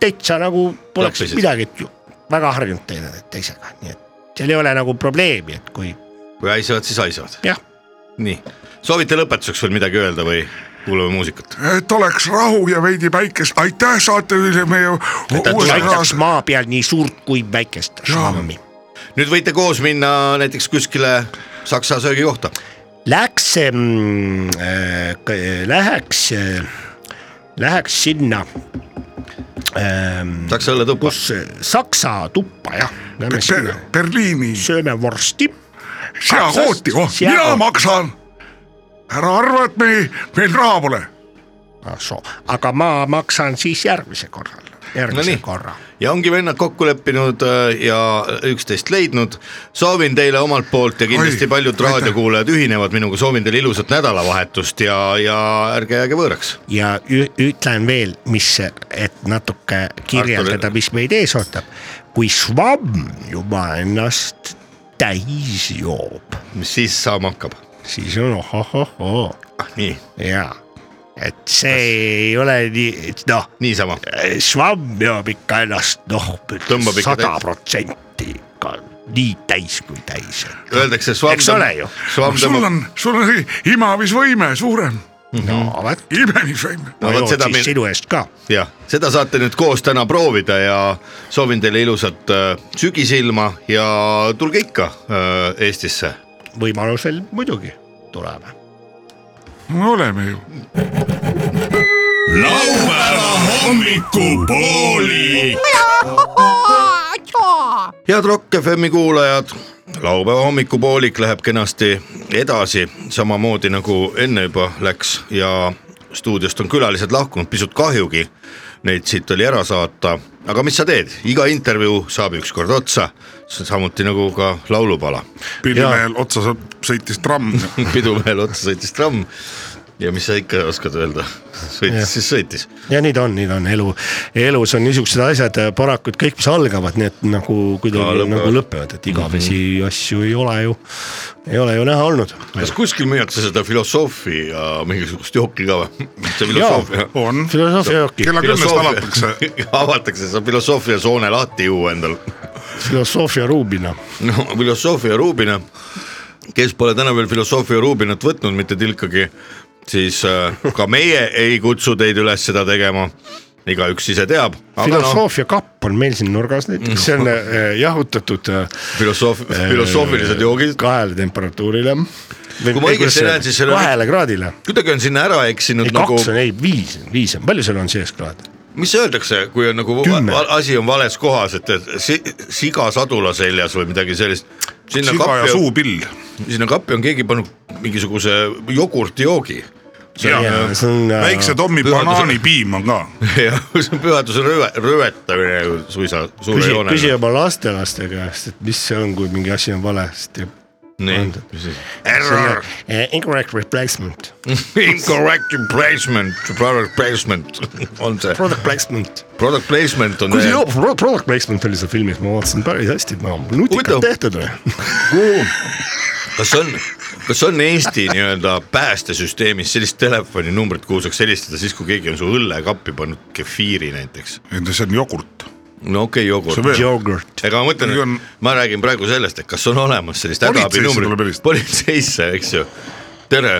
täitsa nagu poleks Klappisid. Lappisid. midagi , et ju- väga harjunud teine teisega , nii et seal ei ole nagu probleemi , et kui kui haisevad , siis haisevad . jah , nii , soovite lõpetuseks veel midagi öelda või kuulame muusikat ? et oleks rahu ja veidi päikest , aitäh saatejuhile meie Aitäh, aitäh. uuele aitaks kaaslasele . maa peal nii suurt kui väikest šammi . nüüd võite koos minna näiteks kuskile saksa söögikohta , Läks , läheks , läheks sinna ähm, , saksa õlletuppa , kus äh, saksa tuppa jah , lähme sinna , Berliini sööme vorsti seakooti , oh , Seakoot. mina maksan . ära arva , et meil , meil raha pole . Ahsoo. aga ma maksan siis järgmise korral , järgmise nii. no korra . ja ongi vennad kokku leppinud äh, ja üksteist leidnud . soovin teile omalt poolt ja kindlasti Oi, Oi, paljud aitäh. raadiokuulajad ühinevad minuga , soovin teile ilusat nädalavahetust ja , ja ärge jääge võõraks . ja ü- ütlen veel , mis , et natuke kirjeldada , Artur- mis meid ees ootab . kui švamm juba ennast täis joob , mis siis saama hakkab ? siis on ohohohoo nii , ja , et see ei ole nii , noh , niisama , švamm joob ikka ennast noh , Tõmbab ikka sada täis. protsenti ikka nii täis kui täis . öeldakse . eks ole ju , sul on , sul on see imavisvõime suurem , no vot . imemisvõime . No no vot vot seda seda meil- meil . sinu eest ka . jah , seda saate nüüd koos täna proovida ja soovin teile ilusat äh, sügisilma ja tulge ikka äh, Eestisse võimalusel muidugi . tuleme . me oleme ju . laupäeva hommikupooli . head Rock FM-i kuulajad , laupäeva hommikupoolik läheb kenasti edasi , samamoodi nagu enne juba läks ja stuudiost on külalised lahkunud , pisut kahjugi neid siit oli ära saata , aga mis sa teed , iga intervjuu saab ükskord otsa , samuti nagu ka laulupala . pillimehel otsa sa- sõitis tramm . pidumehel otsa sõitis tramm ja mis sa ikka oskad öelda , Jah. sõitis siis sõitis ja nii ta on , nii ta on elu , elus on niisugused asjad äh, paraku , et kõik , mis algavad , need nagu Ka kuidagi lõpevad. Mhm. nagu lõpevad , et igavesi asju ei ole ju , ei ole ju näha olnud . kas kuskil müüakse seda filosoofi ja mingisugust jooki ka või ? see filosoofia . on , filosoofia jooki , kella kümnest Filosoofia- avatakse . avatakse , saab filosoofiasoone lahti juua endal . filosoofia ruubina . no filosoofia Rubina , kes pole täna veel filosoofia Rubinat võtnud mitte tilkagi , siis äh, ka meie ei kutsu teid üles seda tegema . igaüks ise teab , aga noh , filosoofia kapp on meil siin nurgas Mhm. näiteks , see on äh, jahutatud äh, filosoof- , filosoofilised joogid . kahele temperatuurile . Kui ma õigesti näen, siis seal on- kahele kraadile , kuidagi on sinna ära eksinud ei nagu kaks , on , ei viis , viis on , palju seal on sees kraade ? mis öeldakse , kui on nagu va- Kümme. va- asi on vales kohas , et et si, siga sadula seljas või midagi sellist . sinna siga ja kappi on , suupill . sinna kappi on keegi pannud mingisuguse jogurtijoogi . see on äh, väikse Tommy pühaduse- banaanipiim on ka . jah , see on pühaduse röö- , röövetamine ju suisa suure küsi , joonega . küsi oma lastelaste käest , et mis see on , kui mingi asi on valesti . nii Anda. , error , Incorrect replacement , incorrect placement , product placement on see , product placement . product placement on kuule , see joo , product placement oli seal filmis , ma vaatasin päris hästi , no Huvitav. nutikalt tehtud või ? kas on , kas on Eesti nii-öelda päästesüsteemis sellist telefoninumbrit , kuhu saaks helistada siis , kui keegi on su õllekappi pannud kefiiri näiteks ? ei no see on jogurt . no okei okay, , See jogurt veel- Jogurt , ega ma mõtlen Kui on- , ma räägin praegu sellest , et kas on olemas sellist Politseisse tuleb hädaabinumbrit , helistada. politseisse , eks ju . tere .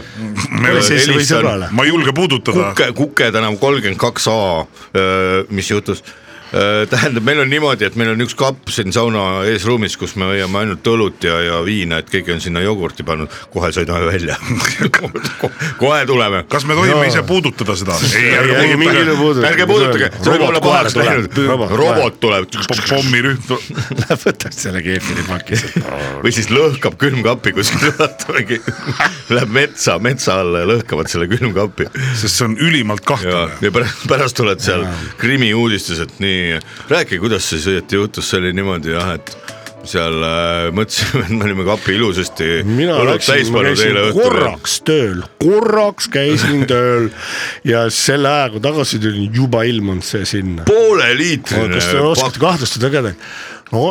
politseisse või sõbrale . ma ei julge puudutada . Kuke , Kuke tänav kolmkümmend kaks A , mis juhtus ? tähendab , meil on niimoodi , et meil on üks kapp siin sauna eesruumis , kus me hoiame ainult õlut ja , ja viina , et keegi on sinna jogurti pannud , kohe sõidame välja . kohe tuleme . kas me tohime ise puudutada seda ? ei , Ei, ärge ärge puudutage . mingil juhul- puudutage. ärge puudutage , see võib Robot olla kohe pahaks tuleb. läinud Robot , kohe. robot tuleb pommirühm , võtad selle keefiripaki sealt . või siis lõhkab külmkapi kuskil , läheb metsa , metsa alla ja lõhkavad selle külmkapi sest see on ülimalt ja , kahtlane . ja pärast , pärast oled seal Krimmi uudistes , et nii , räägi , kuidas siis õieti juhtus , see oli niimoodi jah , et seal äh, mõtlesime , et me olime kapi ilusasti . mina läksin , ma käisin korraks tööl , korraks käisin tööl ja selle ajaga tagasi tulin , juba ilmunud see sinna . pooleliitrine kas te oskate pakk kahtlustada kedagi ? no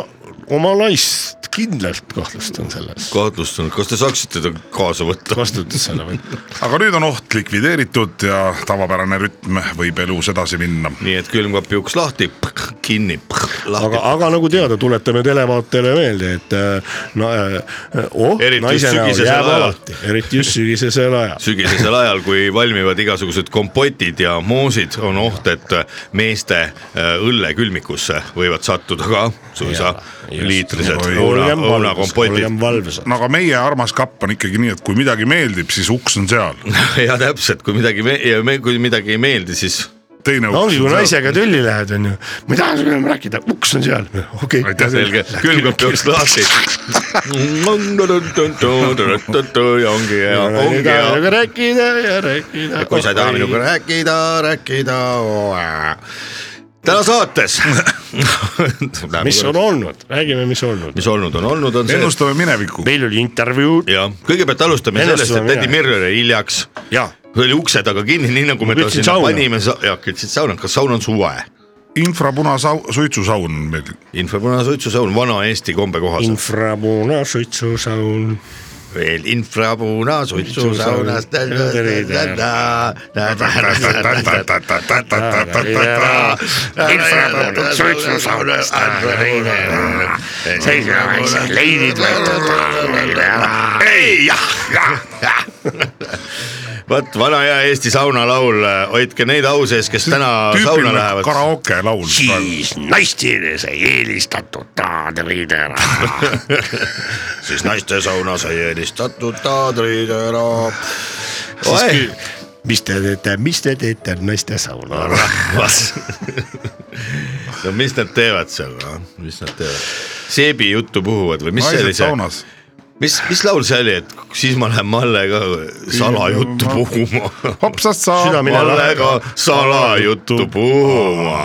oma naist kindlalt kahtlustan selles , kahtlustanud , kas te saaksite ta kaasa võtta ? vastutad selle või ? aga nüüd on oht likvideeritud ja tavapärane rütm võib elus edasi minna . nii et külmkapi uks lahti , kinni , lahti aga , aga nagu teada , tuletame televaatajale meelde , et äh, no äh, oh , Eriti just naise näol sügisesel jääb ajal. alati , eriti just sügisesel ajal . sügisesel ajal , kui valmivad igasugused kompotid ja moosid , on oht , et meeste äh, õllekülmikusse võivad sattuda ka suisa liitrised õuna , olgem valvsad , õunakompotid . olgem valvsad . no aga meie armas kapp on ikkagi nii , et kui midagi meeldib , siis uks on seal . ja täpselt , kui midagi me- , ja me, kui midagi ei meeldi , siis teine no uks ongi , kui on seal . naisega tülli lähed , onju , ma ei taha sinuga enam rääkida , uks on seal , okei . selge , külmkapp jooks lahti . ja ongi hea , ongi hea . minuga rääkida ja rääkida . kui sa ei taha minuga rääkida , rääkida . täna saates . mis on ? olnud , räägime , mis olnud . mis olnud on , olnud on see , ennustame minevikku . meil oli intervjuu jah , kõigepealt alustame Ennast sellest , et saame tädi mina. Mirror jäi hiljaks , ja oli ukse taga kinni , nii nagu me ta kütsin sinna sauna. panime , ja kütsid sauna , kas saun on suve ? infrapunasau- , suitsusaun on meil . infopunasuitsusaun , vana Eesti kombe kohaselt . infrapunasuitsusaun . veel infrapunasuitsusaunas . infrapunasuitsusaunas taga teine . seisma väiksed leidid võtad . ei jah , jah , jah . vot vana hea Eesti saunalaul , hoidke neid au sees , kes täna sauna lähevad . karaoke laul . siis naistele sai eelistatud taadriidele . siis naiste sauna sai eelistatud taadritera . mis te teete , mis te teete naiste sauna ? rahvas . no mis nad teevad seal , noh , mis nad teevad ? seebi juttu puhuvad või mis see oli naised see , saunas . mis , mis laul see oli , et siis ma lähen Mallega salajuttu puhuma . hopsast saab . Mallega salajuttu puhuma ,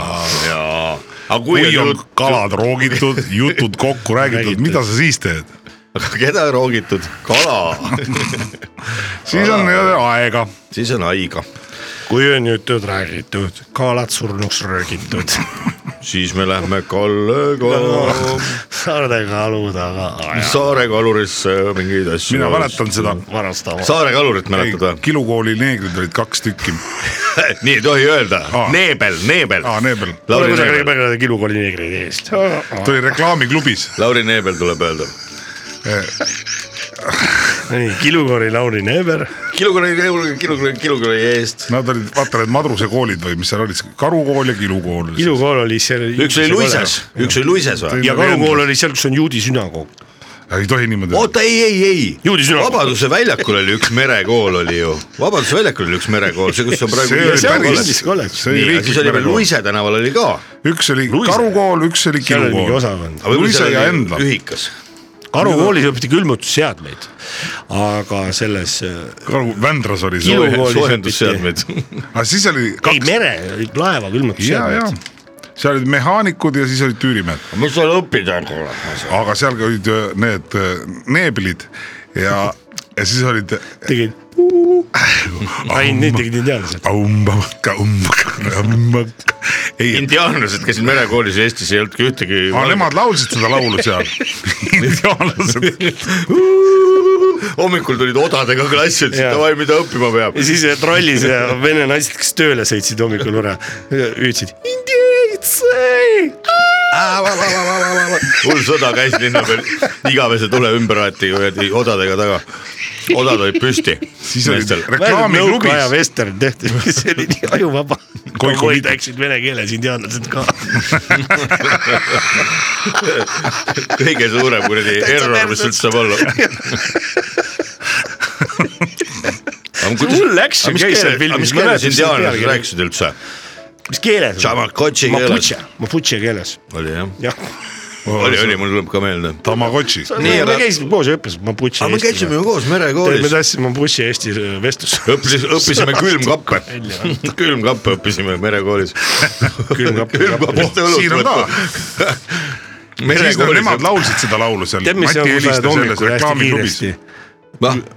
jaa . aga kui, kui kui on on kalad roogitud , jutud kokku räägitud , mida sa siis teed ? keda roogitud kala , siis on jälle aega . siis on haiga , kui on jutud räägitud , kalad surnuks röögitud , siis me lähme Kallega saarde kalu taga ajas Saare kalurisse mingeid asju . mina mäletan seda . varastama . Saare kalurit mäletad või ? kilukooli neegrid olid kaks tükki . nii ei Ah. tohi öelda Aa. , neebel , neebel . aa , Neebel . Lauri Neebel , kusagil kilukooli neegride eest . ta oli reklaamiklubis . Lauri Neebel tuleb öelda . nii , kilukooli Lauri Neeber . kilukõne , kilukõne , kilukõne eest . Nad olid , vaata need madruse koolid või mis seal olid , karukool ja kilukool . kilukool oli seal . üks oli Luises , üks oli Luises või ? ja kalukool oli seal , kus on juudi sünagoog . ei tohi niimoodi . oota , ei , ei , Juudi ei , sünagoog. Vabaduse väljakul oli üks merekool oli ju , Vabaduse väljakul oli üks merekool , see , kus on praegu . See oli päris- kolledž see . oli nii , aga riiklik siis oli veel merekool. Luise tänaval oli ka . üks oli karukool , üks oli seal oli mingi kilukool . osakond . Luise ja Endla . ühikas . karukoolis õpiti külmutusseadmeid , aga selles äh, karu , Vändras oli see . kilukoolis õpiti , soojendusseadmed . aga siis oli ei kaks , mere , ja , laeva ja külmutusseadmeid . seal olid mehaanikud ja siis olid tüürimehed , mis seal õppida on , kurat . aga seal ka olid öö, need öö, neeblid ja , ja siis olid äh, tegid , ainult neid tegid indiaanlased . Aumbaka , umbaka , umbaka . ei , indiaanlased , kes merekoolis Eestis ei olnudki ühtegi . aga nemad laulsid seda laulu seal , indiaanlased . hommikul tulid odadega klassi , ütlesid Jaa. davai , mida õppima peab ja . siis trollis ja vene naised , kes tööle sõitsid hommikul ära , hüüdsid . hull sõda käis linna peal , igavese tule ümber aeti , võeti odadega taga . odad olid püsti . siis olid nõukaaja reklaamiklubis , vestern tehti , see oli nii ajuvaba . kolmkoid läksid vene keeles , indiaanlased ka . kõige suurem kuradi error , mis üldse saab olla . hull action käis seal filmis, mis ma ei keeles mäleta, mis selle indiaanlased pealkiri- rääkisid üldse ? mis keeles ? Tamagotchi keeles Mapuche , Mapuche keeles , oli jah , jah . oli , oli , mul tuleb ka meelde . Tamagotši . Nii, me aga- käisime koos ja õppisime Mapuche . aga me käisime ju . koos me merekoolis . tahtsime Mapuche äh, Eesti vestlus . õppisime , õppisime külmkappe , külmkappe õppisime merekoolis . külmkapp . külmkapist õlut siin on ka. võtma . siis nad- nemad merekoolis . laulsid seda laulu seal . tead , mis sa kuuled hommikul hästi kiiresti ?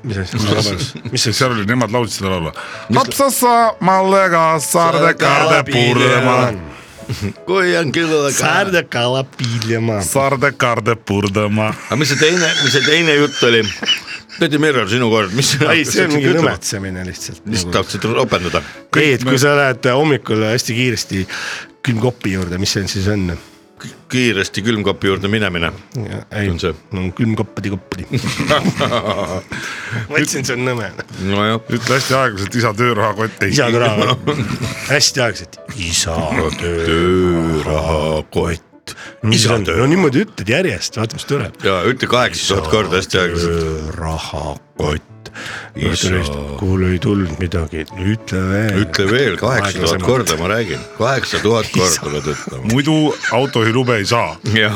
mis asi , mis asi ? seal oli , nemad laulsid seda laulu . lapsassa mallega saarde kaarde purdema , kui on külmkapp . Sarda kalapiljama . saarde kaarde purdema . aga mis see teine , mis see teine jutt oli ? Peeti Mirror , sinu kord , mis sina ei , see on mingi . nõmetsemine lihtsalt . mis sa tahtsid ropendada ? ei , et kui sa lähed hommikul hästi kiiresti külmkopi juurde , mis see siis on ? kiiresti külmkapi juurde minemine . ei on see? , no külmkoppadi koppadi ma ütlesin , see on nõme . nojah , ütle hästi aeglaselt , isa töörahakott ei . isa kõrval , hästi aeglaselt , isa töörahakott . mis on , no niimoodi ütled järjest , vaata , mis tuleb . ja ütle kaheksa tuhat korda hästi aeglaselt . rahakott . kuule , ei tulnud midagi , ütle veel . ütle veel kaheksa tuhat korda , ma räägin , kaheksa tuhat korda pead ütlema . muidu autojuhi lube ei saa . jah .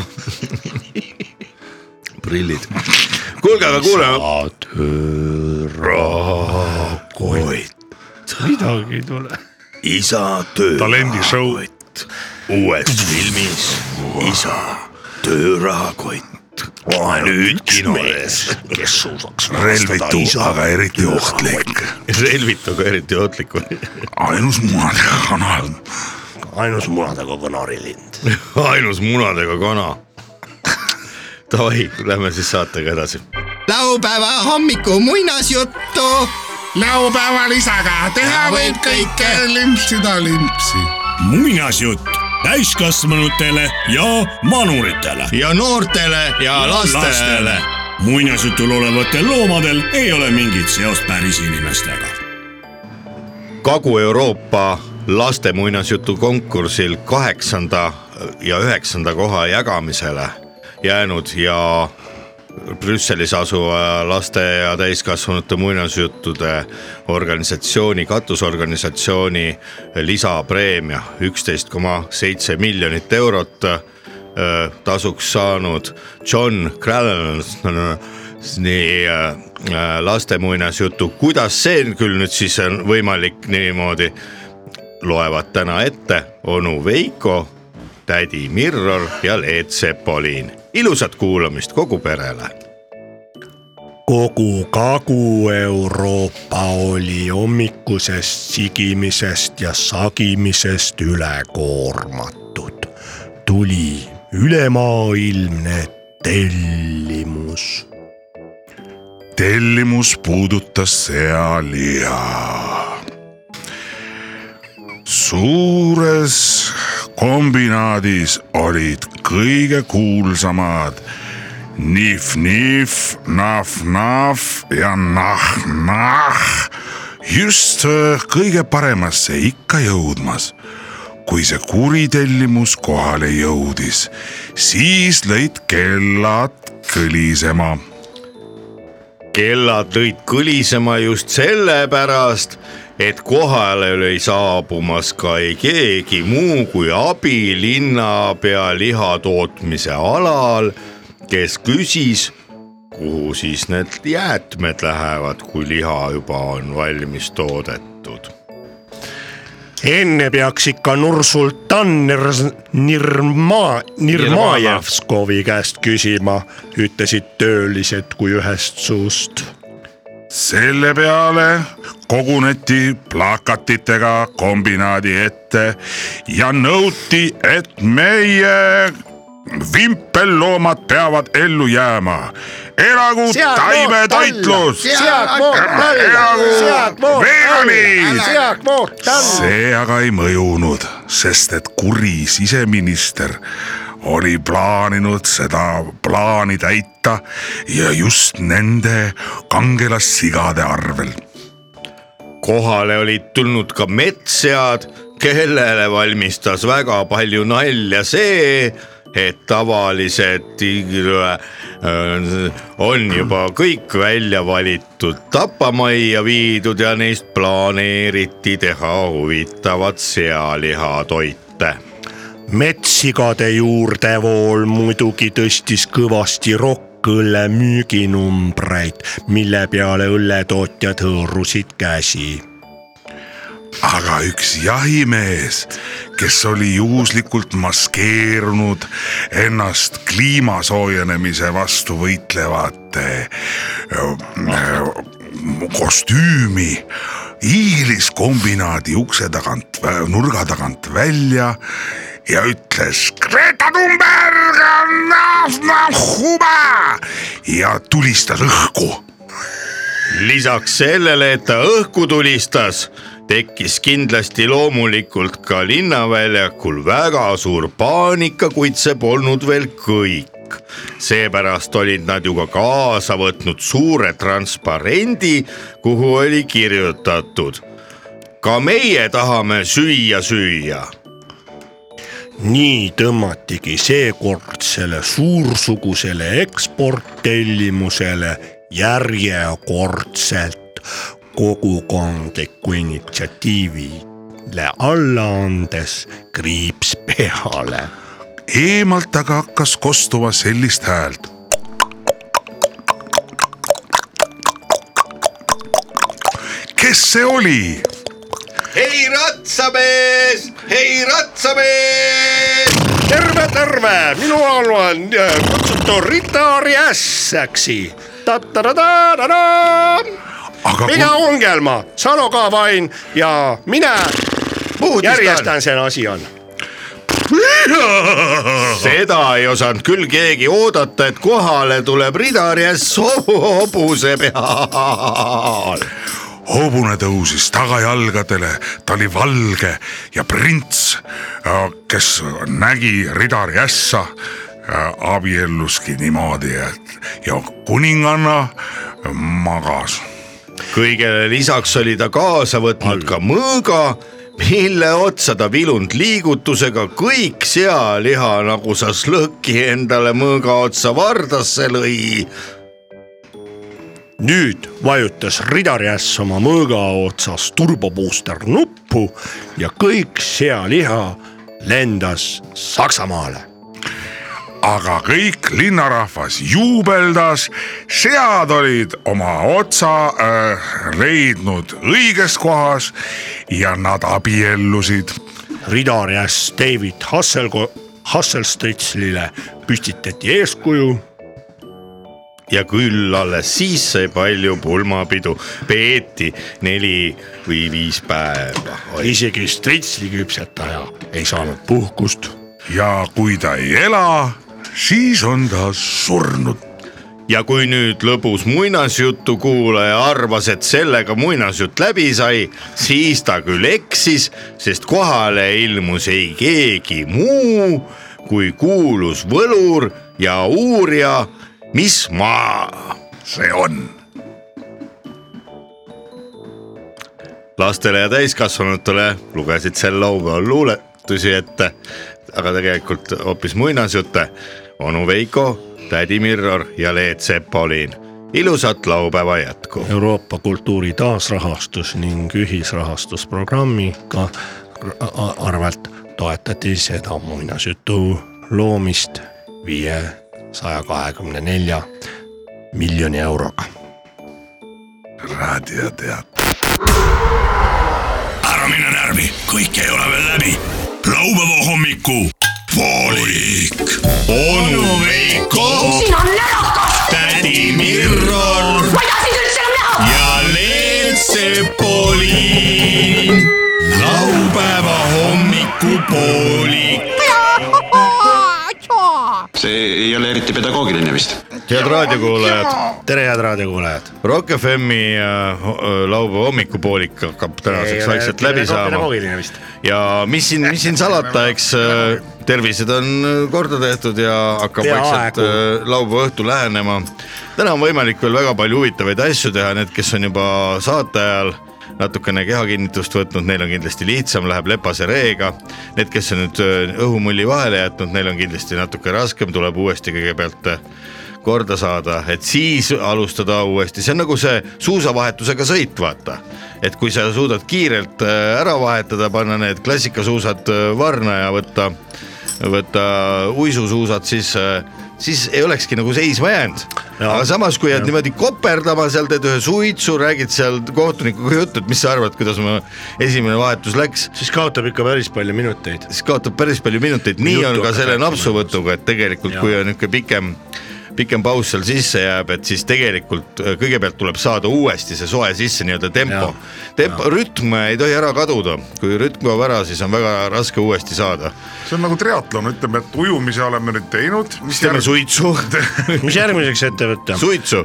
prillid . kuulge , aga kuulame . koit . midagi ei tule . isa töö . talendishow . uues filmis Isa töörahakott . nüüd kinodes . kes suudaks relvitu , aga eriti ohtlik . relvitu ka eriti ohtlik või ? ainus munadega kanal . ainus munadega kanarilind . ainus munadega kana . Davai , lähme siis saatega edasi . laupäeva hommiku muinasjuttu . laupäeval isaga teha võib kõike , limpsida limpsi . muinasjutt täiskasvanutele ja manuritele . ja noortele ja lastele . muinasjutul olevatel loomadel ei ole mingit seost päris inimestega . Kagu-Euroopa laste muinasjutu konkursil kaheksanda ja üheksanda koha jagamisele jäänud ja Brüsselis asuva laste ja täiskasvanute muinasjuttude organisatsiooni, katusorganisatsiooni lisapreemia üksteist koma seitse miljonit eurot öö, tasuks saanud John Crallani äh, laste muinasjutu, kuidas see küll nüüd siis on võimalik niimoodi, loevad täna ette onu Veiko tädi Mirror ja Leet Sepolin. ilusat kuulamist kogu perele. kogu Kagu-Euroopa oli hommikusest sigimisest ja sagimisest üle koormatud. tuli ülemaailmne tellimus. tellimus puudutas sealiha . suures kombinaadis olid kõige kuulsamad nihv-nihv , nahv-nahv ja nahh-nahh . just öö, kõige paremasse ikka jõudmas kui see kuritellimus kohale jõudis , siis lõid kellad kõlisema kellad lõid kõlisema just sellepärast , et kohale oli saabumas ka ei keegi muu kui abilinnapea lihatootmise alal , kes küsis , kuhu siis need jäätmed lähevad , kui liha juba on valmis toodetud . enne peaks ikka Nursultan Nir- , Nirma- , Nirmajevskovi käest küsima , ütlesid töölised kui ühest suust . selle peale koguneti plakatitega kombinaadi ette ja nõuti , et meie vimpelloomad peavad ellu jääma . elagu Sead taimetoitlus , seakvoot elagu veganid . seakvoot see aga ei mõjunud , sest et kuri siseminister oli plaaninud seda plaani täita ja just nende kangelassigade arvel . kohale olid tulnud ka metssead , kellele valmistas väga palju nalja see , et tavaliselt tiigrile äh, on juba kõik välja valitud , tapamajja viidud ja neist planeeriti teha huvitavat sealihatoite . metsigade juurdevool muidugi tõstis kõvasti rokkõlle müüginumbreid , mille peale õlletootjad hõõrusid käsi . aga üks jahimees , kes oli juhuslikult maskeerunud ennast kliima soojenemise vastu võitlevate äh, kostüümi , hiilis kombinaadi ukse tagant , nurga tagant välja ja ütles Greta Thunberg on nahvnahuba ja tulistas õhku lisaks sellele , et ta õhku tulistas , tekkis kindlasti loomulikult ka linnaväljakul väga suur paanika , kuid see polnud veel kõik . seepärast olid nad ju ka kaasa võtnud suure transparendi , kuhu oli kirjutatud . ka meie tahame süüa süüa nii tõmmatigi seekord selle suursugusele eksporttellimusele järjekordselt kogukondliku initsiatiivile alla andes kriips peale eemalt aga hakkas kostuma sellist häält . kes see oli ? hei ratsamees , hei ratsamees . terve , terve , minu all on äh, kutsutud Rita Arias , äksi . aga mina kui... Ungelma , Salo Kavain ja mina järjestan selle asi on . seda ei osanud küll keegi oodata , et kohale tuleb ridarjas hobuse peal . hobune tõusis tagajalgadele , ta oli valge ja prints , kes nägi äh, ridar Jässa , abielluski niimoodi , et ja kuninganna magas kõigele lisaks oli ta kaasa võtnud ka mõõga , mille otsa ta vilunud liigutusega kõik sealiha nagu sa slõki endale mõõga otsa vardasse lõi . nüüd vajutas ridariäss oma mõõga otsas turbobuuster nuppu ja kõik sealiha lendas Saksamaale . aga kõik linnarahvas juubeldas , sead olid oma otsa äh, leidnud õiges kohas ja nad abiellusid . ridariäss David Hasselko- , Hasselstritzlile püstitati eeskuju ja küll alles siis sai palju pulmapidu , peeti neli või viis päeva . isegi stritsli küpsetaja ei saanud puhkust . ja kui ta ei ela , siis on ta surnud . ja kui nüüd lõbus muinasjutu kuulaja arvas , et sellega muinasjutt läbi sai , siis ta küll eksis , sest kohale ilmus ei keegi muu kui kuulus võlur ja uurija , mis maa see on . lastele ja täiskasvanutele lugesid sel laupäeval luuletusi ette , aga tegelikult hoopis muinasjutte . onu Veiko , tädi Mirror ja Leet Sepolin . ilusat laupäeva jätku . Euroopa kultuuri taasrahastus ning ühisrahastusprogrammiga a- arvelt toetati seda muinasjutu loomist viiesaja kahekümne nelja miljoni euroga . raadioteater . ära mine närvi , kõik ei ole veel läbi . laupäeva hommiku poolik . onu Veiko , siin on närakas , tädi Mirror ma ei taha sind üldse enam näha . ja Leet Sepolin . laupäeva hommikupoolik . see ei ole eriti pedagoogiline vist . head raadiokuulajad , tere , head raadiokuulajad . Rock FM-i äh, ho- laupäeva hommikupoolik hakkab tänaseks vaikselt läbi saama ja mis siin , mis siin salata , eks äh, tervised on äh, korda tehtud ja hakkab Peaaegu. vaikselt äh, laupäeva õhtu lähenema . täna on võimalik veel väga palju huvitavaid asju teha , need , kes on juba saate ajal natukene kehakinnitust võtnud , neil on kindlasti lihtsam , läheb lepase reega . Need , kes on nüüd äh, õhumulli vahele jätnud , neil on kindlasti natuke raskem , tuleb uuesti kõigepealt äh, korda saada , et siis alustada uuesti , see on nagu see suusavahetusega sõit , vaata . et kui sa suudad kiirelt äh, ära vahetada , panna need klassikasuusad äh, varna ja võtta , võtta uisusuusad , siis äh, siis ei olekski nagu seisma jäänud . aga samas , kui jääd niimoodi koperdama seal , teed ühe suitsu , räägid seal kohtunikuga juttu , et mis sa arvad , kuidas mu esimene vahetus läks , siis kaotab ikka päris palju minuteid . siis kaotab päris palju minuteid , nii Juttu on ka hakkad selle rääkima. napsuvõtuga , et tegelikult , kui on niisugune pikem , pikem paus seal sisse jääb , et siis tegelikult äh, kõigepealt tuleb saada uuesti see soe sisse nii-öelda tempo Jaa. . tempo , rütm ei tohi ära kaduda , kui rütm kaob ära , siis on väga raske uuesti saada . see on nagu triatlon , ütleme , et ujumise oleme nüüd teinud . teeme suitsu , mis järgmiseks ette võtta ? suitsu ,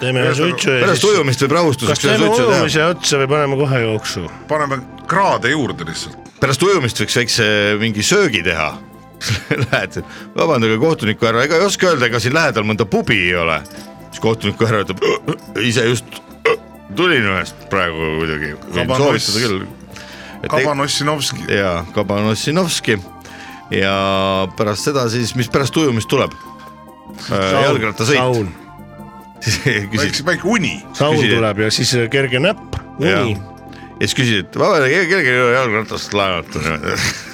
teeme ühe suitsu ja pärast siis ujumist võib kas rahustuseks ühe teeme suitsu teha . ujumise otsa või paneme kohe jooksu ? paneme kraade juurde lihtsalt . pärast ujumist võiks väikse mingi söögi teha . Lähed , vabandage kohtuniku härra , ega ei oska öelda , ega siin lähedal mõnda pubi ei ole . siis kohtuniku härra ütleb , ise just äh, tulin ühest praegu kuidagi , võin Kabanoss. soovitada küll . Kabanossinovski , ja Kabanossinovski ja pärast seda siis , mis pärast ujumist tuleb ? jalgrattasõit . saun , küsid väike , väike uni . saun Küsid, et- tuleb ja siis kerge näpp , Jaa. uni . ja siis küsid , et vabandage , kellelgi ei ole jalgratast laenata .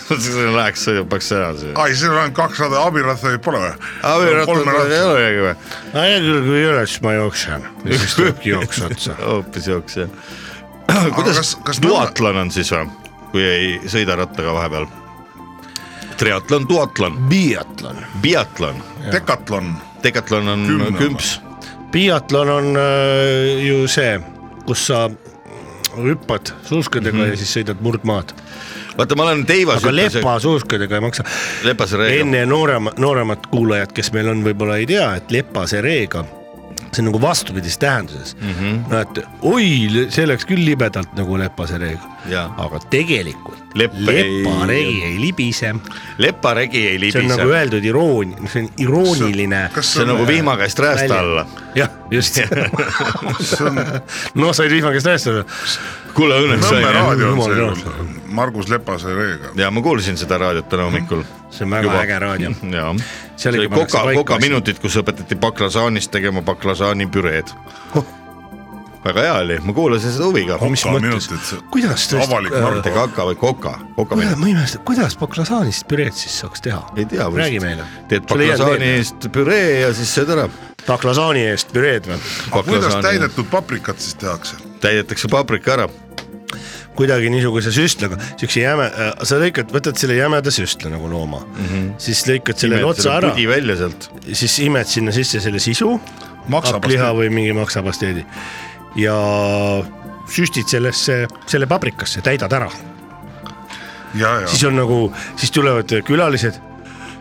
Läheks , sõidaks ära . ai , siin on ainult kaks rada , abirattaid pole või ? abirattas ei olegi või ? hea küll , kui ei ole , siis ma jooksen . ja siis tulebki jooks otsa . hoopis jooks jah . kuidas kas- kas, kas kas duatlon on siis või , kui ei sõida rattaga vahepeal ? triatlon , duatlon , biatlon . biatlon , Dekatlon , dekatlon on Kümne oma. kümps , biatlon on äh, ju see , kus sa hüppad suuskadega mm Mhm. -hmm. ja siis sõidad murdmaad , vaata , ma olen teivas . aga lepa suuskadega ei maksa . lepas reega , enne noorema , nooremad kuulajad , kes meil on , võib-olla ei tea , et lepase reega , see on nagu vastupidises tähenduses mm . -hmm. Mhm. no et oi , see läks küll libedalt nagu lepase reega , jaa . aga tegelikult Lepp ei- leparegi ei libise , leparegi ei see on libise nagu , öeldud iroonia , see on irooniline , kas see on nagu vihma käest räästa Välja. alla . jah , just . no said vihmakest rääkida . kuule õnneks Nõmme raadio on Jumala see tänatud. , Margus Lepase reega . ja ma kuulsin seda raadiot täna hommikul . Mhm. see on väga äge raadio. jaa . see Sellega oli pannakse Koka , paika Koka asjad. minutid , kus õpetati baklasaanist tegema baklasaani püreed . väga hea oli , ma kuulasin seda huviga . mis mõttes , kuidas tõesti- Avalik Marte Margus. Kaka või Koka , Koka ma minut . ma imestan , kuidas baklasaanist püreed siis saaks teha ? ei tea , räägi meile . teed baklasaani eest püree ja siis sööd ära . baklasaani eest noh, püreed või ? kuidas täidetud paprikat siis tehakse ? täidetakse paprika ära . kuidagi niisuguse süstlaga , siukse jäme , sa lõikad , võtad selle jämeda süstla nagu looma mm , -hmm. siis lõikad sellele Mhm. Imed otsa selle ära , pudi välja sealt . siis imed sinna sisse selle sisu , Maksapasteed. hakkliha või mingi maksapasteedi ja süstid sellesse , selle paprikasse , täidad ära , ja , ja siis on nagu , siis tulevad külalised ,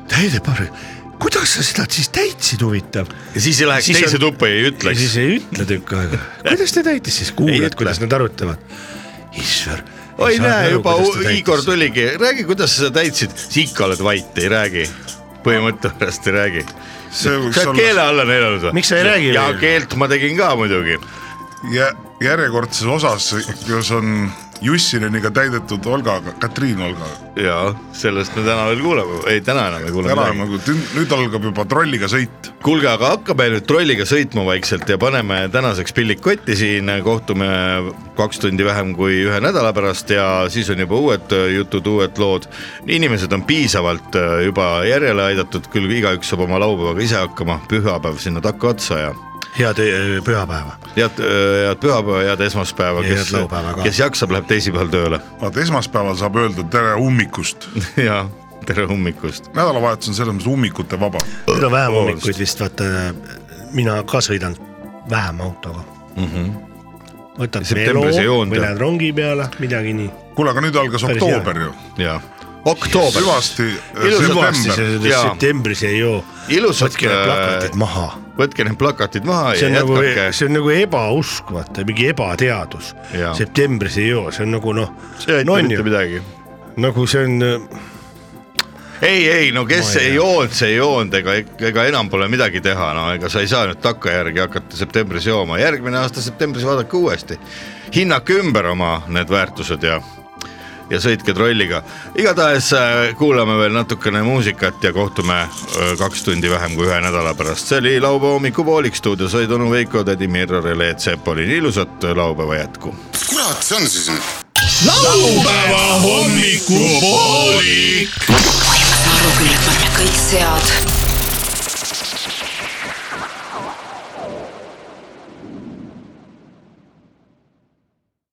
täide paprika , kuidas sa seda siis täitsid , huvitav . ja siis ei läheks Siis teise on- tuppa ja ei ja ütleks siis . ei ütle tükk aega , kuidas ta täitis siis , Ei kuulad ütle. , kuidas nad arutavad . issand . oi näe , juba U- Igor tuligi , räägi , kuidas sa seda täitsid , siis ikka oled vait , ei räägi . põhimõtte pärast ei räägi . see võiks sa oled keele olla alla neelanud või ? Miks sa ei räägi ja veel? keelt ma tegin ka muidugi . jä- järjekordses osas , kus on Jussineniga täidetud Olga , Katriin Olga . ja sellest me täna veel kuuleme , ei täna enam ei kuule täna on midagi . nagu , nüüd algab juba trolliga sõit . kuulge , aga hakkame nüüd trolliga sõitma vaikselt ja paneme tänaseks pillid kotti siin , kohtume kaks tundi vähem kui ühe nädala pärast ja siis on juba uued jutud , uued lood . inimesed on piisavalt äh, juba järjele aidatud , küll igaüks saab oma laupäevaga ise hakkama , pühapäev sinna takkaotsa ja head öö, pühapäeva . head , head pühapäeva , head esmaspäeva , Ja kes head laupäeva ka. , kes jaksab , läheb teisipäeval tööle vaata esmaspäeval saab öelda tere hommikust , ja tere hommikust . nädalavahetus on selles mõttes ummikute vaba . nüüd on vähem hommikuid vist vaata , mina ka sõidan vähem autoga mm . -hmm. võtad Mhm. Septembris ei joonda. või lähed rongi peale , midagi nii . kuule , aga nüüd algas Päris oktoober ju , ja oktoober . hüvasti Ilus hüvasti september . see Jaa. septembris ei joo . Ilusad, võtke need äh, plakatid maha . võtke need plakatid maha see ja on nagu , jätkake . see on nagu ebausk , vaata mingi ebateadus . Jaa. septembris ei joo , see on nagu noh , see ei no ütle on mitte ju , midagi . nagu see on , ei , ei no kes Ma ei ei tea. joonud , see ei joonud , ega , ega enam pole midagi teha , no ega sa ei saa nüüd takkajärgi hakata septembris jooma , järgmine aasta septembris vaadake uuesti . hinnake ümber oma need väärtused ja , ja sõitke trolliga . igatahes äh, kuulame veel natukene muusikat ja kohtume öö, kaks tundi vähem kui ühe nädala pärast . see oli laupäeva hommikupoolik , stuudios olid onu Veiko , tädi Mirro , Rele Tsepolin , ilusat laupäeva jätku . kurat , see on siis nüüd ? laupäeva hommikupooli . aru küll , et võta kõik sead